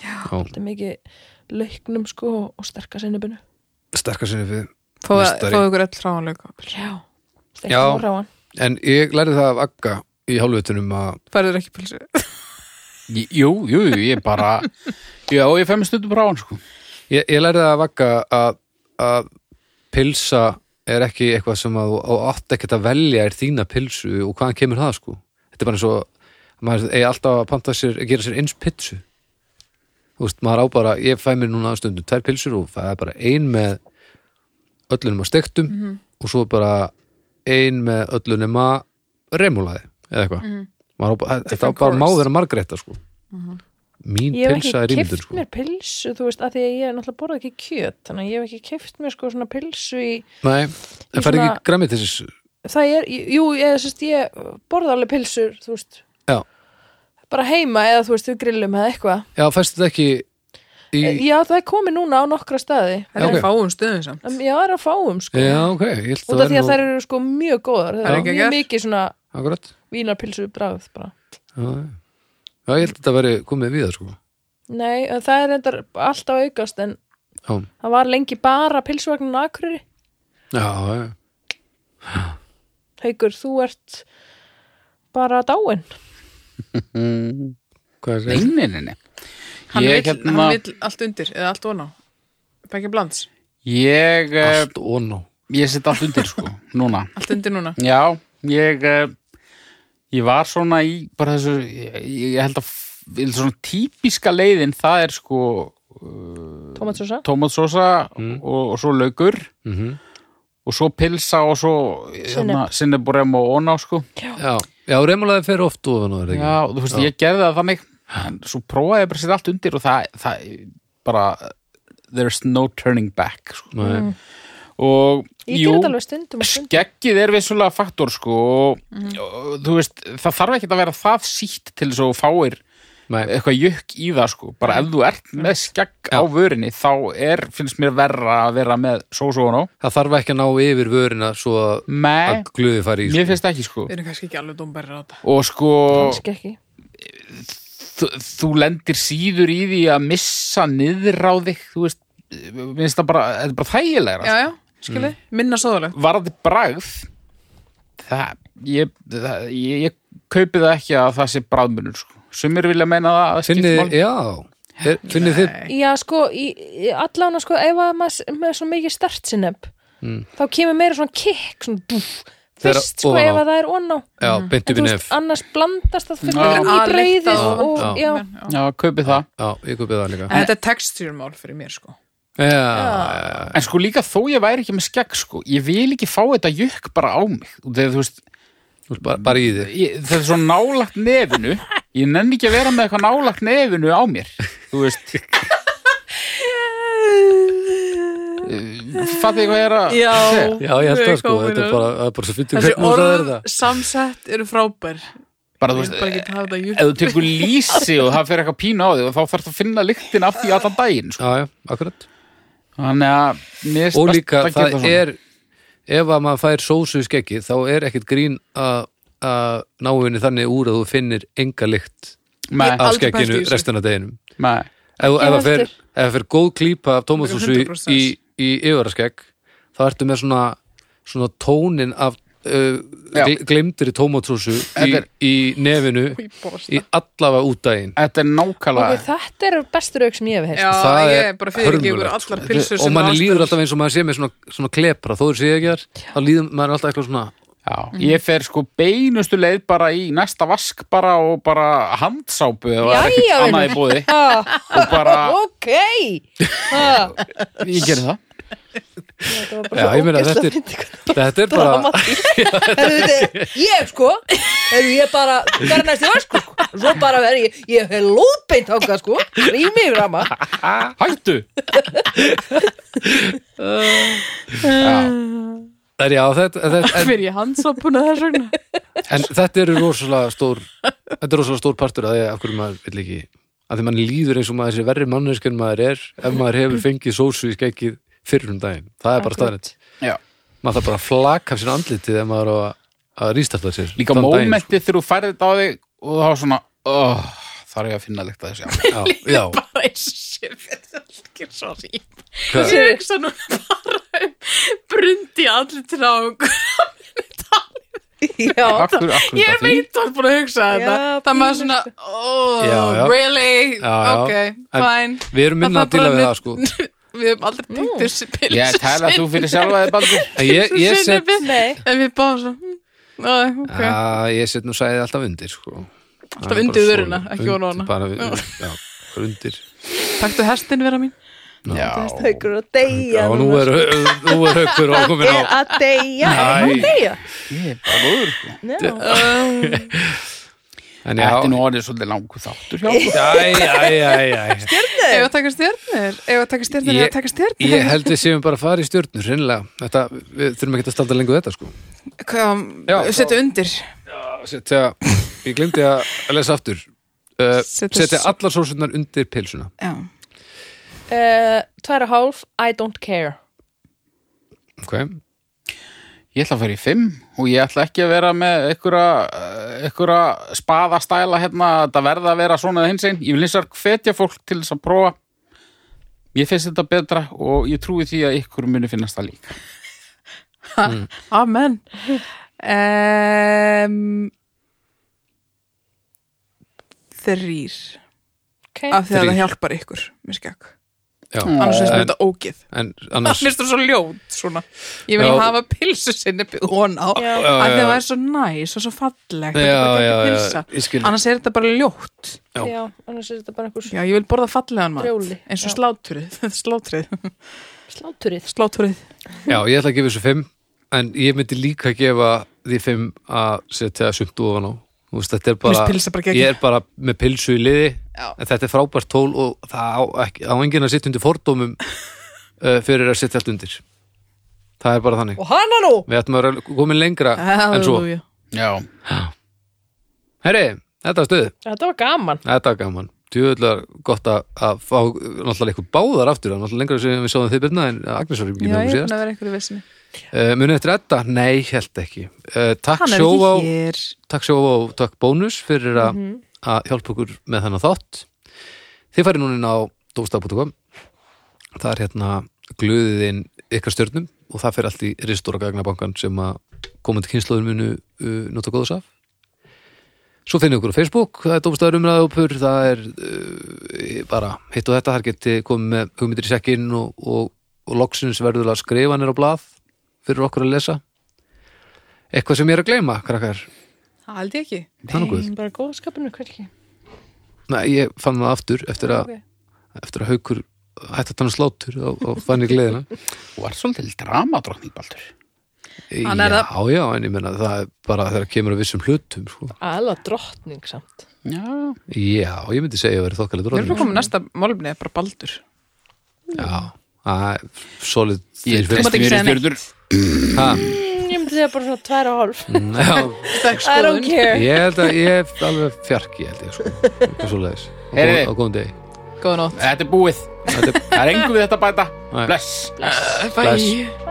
þetta er mikið lauknum sko og sterka sinnubinu sterkar sinnebi Meistari. fáðu ykkur öll ráðanlega Já, Já. sterka og ráan en ég lærði það af Agga í hálfutunum að færður ekki pilsu Jú, jú, jú, ég bara Já, ég fæ mér stundum ráðan sko Ég, ég lærði það að vakka að, að pilsa er ekki eitthvað sem að þú á- átt ekkert að velja er þína pilsu og hvaðan kemur það sko þetta er bara eins og að maður eigi alltaf að panta sér, að gera sér eins pitsu þú veist, maður á bara ég fæ mér núna stundum tvær pilsur og það er bara ein með öllunum að stektum Mhm. og svo bara ein með öllunum að remulaði eða eitthvað Mhm. mm -hmm. þetta á Different bara má course. vera margrétta sko mín Ég hef pilsa er ekki ímyndun keift sko mér pilsu, þú veist, af því að ég er náttúrulega borða ekki kjöt þannig að ég hef ekki keift mér sko svona pilsu í Nei, en fær svona- ekki græmitisins það er, jú, ég, sérst, ég borða alveg pilsur, þú veist Já. bara heima eða þú veist, við grillum eða eitthvað Já, fæstu þetta ekki í... já, það er komið núna á nokkra staði það er ok. okay. fáum stöðum samt Um, já, það er að fáum sko Já, ok, ég held út af því að nú- þær eru sko mjög góðar það Það er er ekki mjög gert. mikið svona Akkurat vínarpilsu bræð bara. Já, já. Já, ég held að þetta veri komið við það, sko nei, en það er endar alltaf aukast en Já, það var lengi bara pilsuvagnin akurri já, já haukur, þú ert bara dáin Hvað er Nei, það? nei, nei, nei hann, Ég vill, hérna- hann vill allt undir eða allt vona Begge blands, Ég, eh, Allt og nó ég set allt undir sko Núna allt undir núna Já, ég eh, ég var svona í bara þessu, ég, ég held að f- ég- svona típiska leiðin, það er sko tomatsósa tómatsósa og, og svo laukur og svo pilsa og svo sinneburem og óná sko Já, já, reymulaði fer oft ofan og er það ekki Já, þú veist, ég gerði það þannig en svo prófaði ég bara sér allt undir og það, það bara there's no turning back sko. Nei. og Mm. ég ger þetta alveg stundum og stundum skeggið er vissulega faktor sko og, og þú veist, það þarf ekki að vera það sítt til þess að þú fáir Nei, eitthvað jökk í það sko bara ef þú ert með skegg á vörinni þá er, finnst mér verra að vera með sósónu, það þarf ekki að ná yfir vörina svo að, með að glöði fari í mér sko. finnst ekki sko Við erum kannski ekki alveg dómbæri á þetta og sko skekki þú, þú lendir síður í því að missa niður á þig þú veist, minnst það bara, þetta er bara þægilegra já, já, skilji, Mm. minna sóðalegt varði bragð það, ég, það, ég, ég kaupi það ekki að það sé bragðmunur sko. sumir vilja meina það að skipti Finnið, máli. já, er, finnið þið Já, sko, í, í- allan að sko, ef að maður s- með svona mikið startsinnöp mm. þá kemur meira svona kikk svona dúf, Þegar fyrst sko ofan á. ef að það er onn á Já, beint en upp þú í veist, nef annars blandast það Já. fyrir inn í Að brauðið lykta og, og- já, já, kaupi það Já, ég kupið það líka en þetta er textúrmál fyrir mér sko Já, já, já En sko líka þó ég væri ekki með skegg sko, ég vil ekki fá þetta jökk bara á mig. Og Þegar þú veist, Þú ert bara, bara í þig ég, það er svo nálagt nefinu, ég nenni ekki að vera með eitthvað nálagt nefinu á mér. Þú veist. Fattu ég hvað ég er að segja? Já, ég held við það sko, komin þetta er upp. bara, það er bara svo fyndið þessi hvernig það er orð það samsett eru frábær Bara þú ég vil bara veist, ekki hafa þetta ef júk þú tekur lýsi og það fer eitthvað pínu á þig og þá þarf það að finna lyktin af því allan daginn. Sko. Já, já, akkurat Þannig að mér Og líka, best að gera það er ef að maður fær sósu í skeggi þá er ekkert grín að að ná henni þannig úr að þú finnir enga lykt Nei, af aldrei pælt í skegginu þessu. restina af deginum nei, ef, ef, það fer, heldur. ef það fer góð klípa af tómatsúsu í, 100%. í, í yfaraskegg þá ertu með svona, svona tónin af uh, Já. gl- gleymdri tómatsúsu í, Þetta er- í nefinu í allafa út daginn þetta er nákvæmlega... og þetta eru bestur auk sem ég hef heist já, sko, Það ég er er bara fyrir ekki ykkur hörmulegt, allar sko. pilsur og sem manni eru líður allstaðar. alltaf eins og maður sé með svona, svona klepra þó þú sé ekki þar, þá líður maður alltaf eitthvað svona Já, Mhm. ég fer sko beinustu leið bara í næsta vask bara og bara handsápu eða það er Jæja, ekkert annað í vinur. bóði Ah, og bara, ok Ah, ég gerði það þetta Já, var bara ég meina, ógeðslega þetta er- fyndið hvað þetta er það var bara, dramatískt. Herðu, þetta er- ég sko herðu, ég bara verða næst í vasku sko. svo bara verði ég, ég er lóðbeint þangað sko, rými yfir hama Hættu! Já, er, já, þetta, þetta, fyrir ég handsápuna þess vegna en, en þetta er rosalega stór þetta er rosalega stór partur að því af hverju maður vill ekki að því manni líður eins og maður sé verri mannesk en maður er ef maður hefur fengið sósu í skeggið fyrir um daginn, það er bara staðnett já maður þarf bara að flaka af sér andlitið ef maður á að, að rístarta sér Líka þann daginn, sko. mómentið þegar þú færði þetta á þig og þá svona, oh, þarf ég að finna líkt að þessi sko. já, já, bara eins og sér þetta er ekki sorry hvað- ég hugsa nú bara um brundi allir til á já, Akkur, akkur ég veit hann búin að hugsa Já, þetta það maður pínu svona, oh, Já, já. really Já, já. ok, En fine við erum minna Það að þarf díla bara við að það sko við höfum aldrei tengt þessi pilsu Ég tala þú fyrir sjálfa þig Baldur en ég, ég set nei en við báðum svo hm, Æ, ok, Já, ég set nú sæðið alltaf undir sko. Það er undir bara vörina, svo- ekki undir, ofan á hana. bara við- Já, bara undir takktu hestin vera mín Já, haukur er að deyja Já, nú núna, er, sko. nú er haukur og komin sko. á er að deyja Æ. er hann að deyja ég er bara góður sko. Já. uh, En já, Þetta er nú orðið svolítið langur þáttur hjá okkur. Æ, æ, æ, æ ef að taka stjörnir ef að taka stjörnir, ef Ég- að taka stjörnir Ég held við séum bara að fara í stjórnur Hreinlega, þetta, við þurfum ekki að standa lengur við þetta sko Já, Hvað- setja undir Setja, ég glemdi að lesa aftur uh, Setja- Setja allar sósunar undir pilsuna já, Eh, tvær og hálf, I don't care Ok, Ég ætla að fara í fimm og ég ætla ekki að vera með einhverja, eh, einhverja spaðastæla hérna að það verða að vera svona eða hinsinn. Ég vil eins og hvetja fólk til þess að prófa. Ég finnst þetta betra og ég trúi því að ykkur muni finnast það líka. Mm. amen um, þrýr okay. af því að Þrír. það hjálpar ykkur mér skekk, já annars finnst mér En- þetta ógið En það annars Ah. finnst það svo ljót svona ég vil Já. hafa pilsu sinni bjóðan á Já. Já, að já, það já. er svo næs og svo fallegt Já, þetta er já, ekki já, pilsa ég skil. annars er þetta bara ljótt já. já, annars er þetta bara einhver já, ég vil borða fallegan mat Brjóli, eins já. og slátrið slátrið, sláturrið slátrið Já, ég ætla að gefa þessu 5 en ég myndi líka að gefa því 5 að setja sumt ofan á Þú veist, þetta er bara, finnst pilsa bara geggjuð. ég er bara með pilsu í liði Já. en þetta er frábært tól og það á, ekki, á enginn að sitja undir fordómum uh, fyrir að setja allt undir það er bara þannig og hana nú við ættum að vera komin lengra en svo Hallelujah. Já, Herri, þetta var stuð, þetta var gaman þetta var gaman Tjóðlega gott að, að fá náttúrulega eitthvað báðar aftur, það er náttúrulega lengra sem við sáðum þið byrna en Agnes var ekki með já, ég hún er búin síðast að vera einhverju vissinni uh, Munið eftir þetta? Nei, held ekki uh, Takk hann er sjóvá ekki hér takk Sjóvá og takk Bónus fyrir að að hjálpa okkur með þennan þátt þið farið núna inn á dómstaf.com það er hérna glöðið inn ykkar stjörnum og það fer allt í ristóra gagnabankan sem að komandi kynnslóður munu uh, nota góðs af svo finnum við okkur á Facebook það er dómstafur umræðupur það er uh, bara hitt og þetta þar geti komið með hugmyndir í sekkin og, og, og loksins verður að skrifa nýr á blað fyrir okkur að lesa eitthvað sem ég er að gleyma krakkar Það held ég ekki. Það er nú guð. bara góða skapinu, hver ekki Nei, ég fann það aftur eftir að, Ok. eftir að haukur hætti að tanna slátur og, og fann ég gleðina Þú var svolítið dramadrottning, Baldur. Hann er Já, já, en ég menna það er bara þegar kemur að vissum hlutum sko. Alla drottning samt Já, Já, ég myndi segja að vera þokkalega Við erum dróðin að koma með næsta málumni, bara baldur. Já, það er solid ég fyrir- mátt ekki treysti mér í segja neitt. stjörnur. Ha, Ég myndi segja bara svona tværa og hálf Já, I don't care ég held að ég er alveg fjarki held ég sko, eitthvað svoleiðis Á Heyrðu. góðum- á góðum degi Góða nótt. Þetta er búið. Þetta er- Það er engum við þetta að bæta. Nei. Bless. Bye. Bless.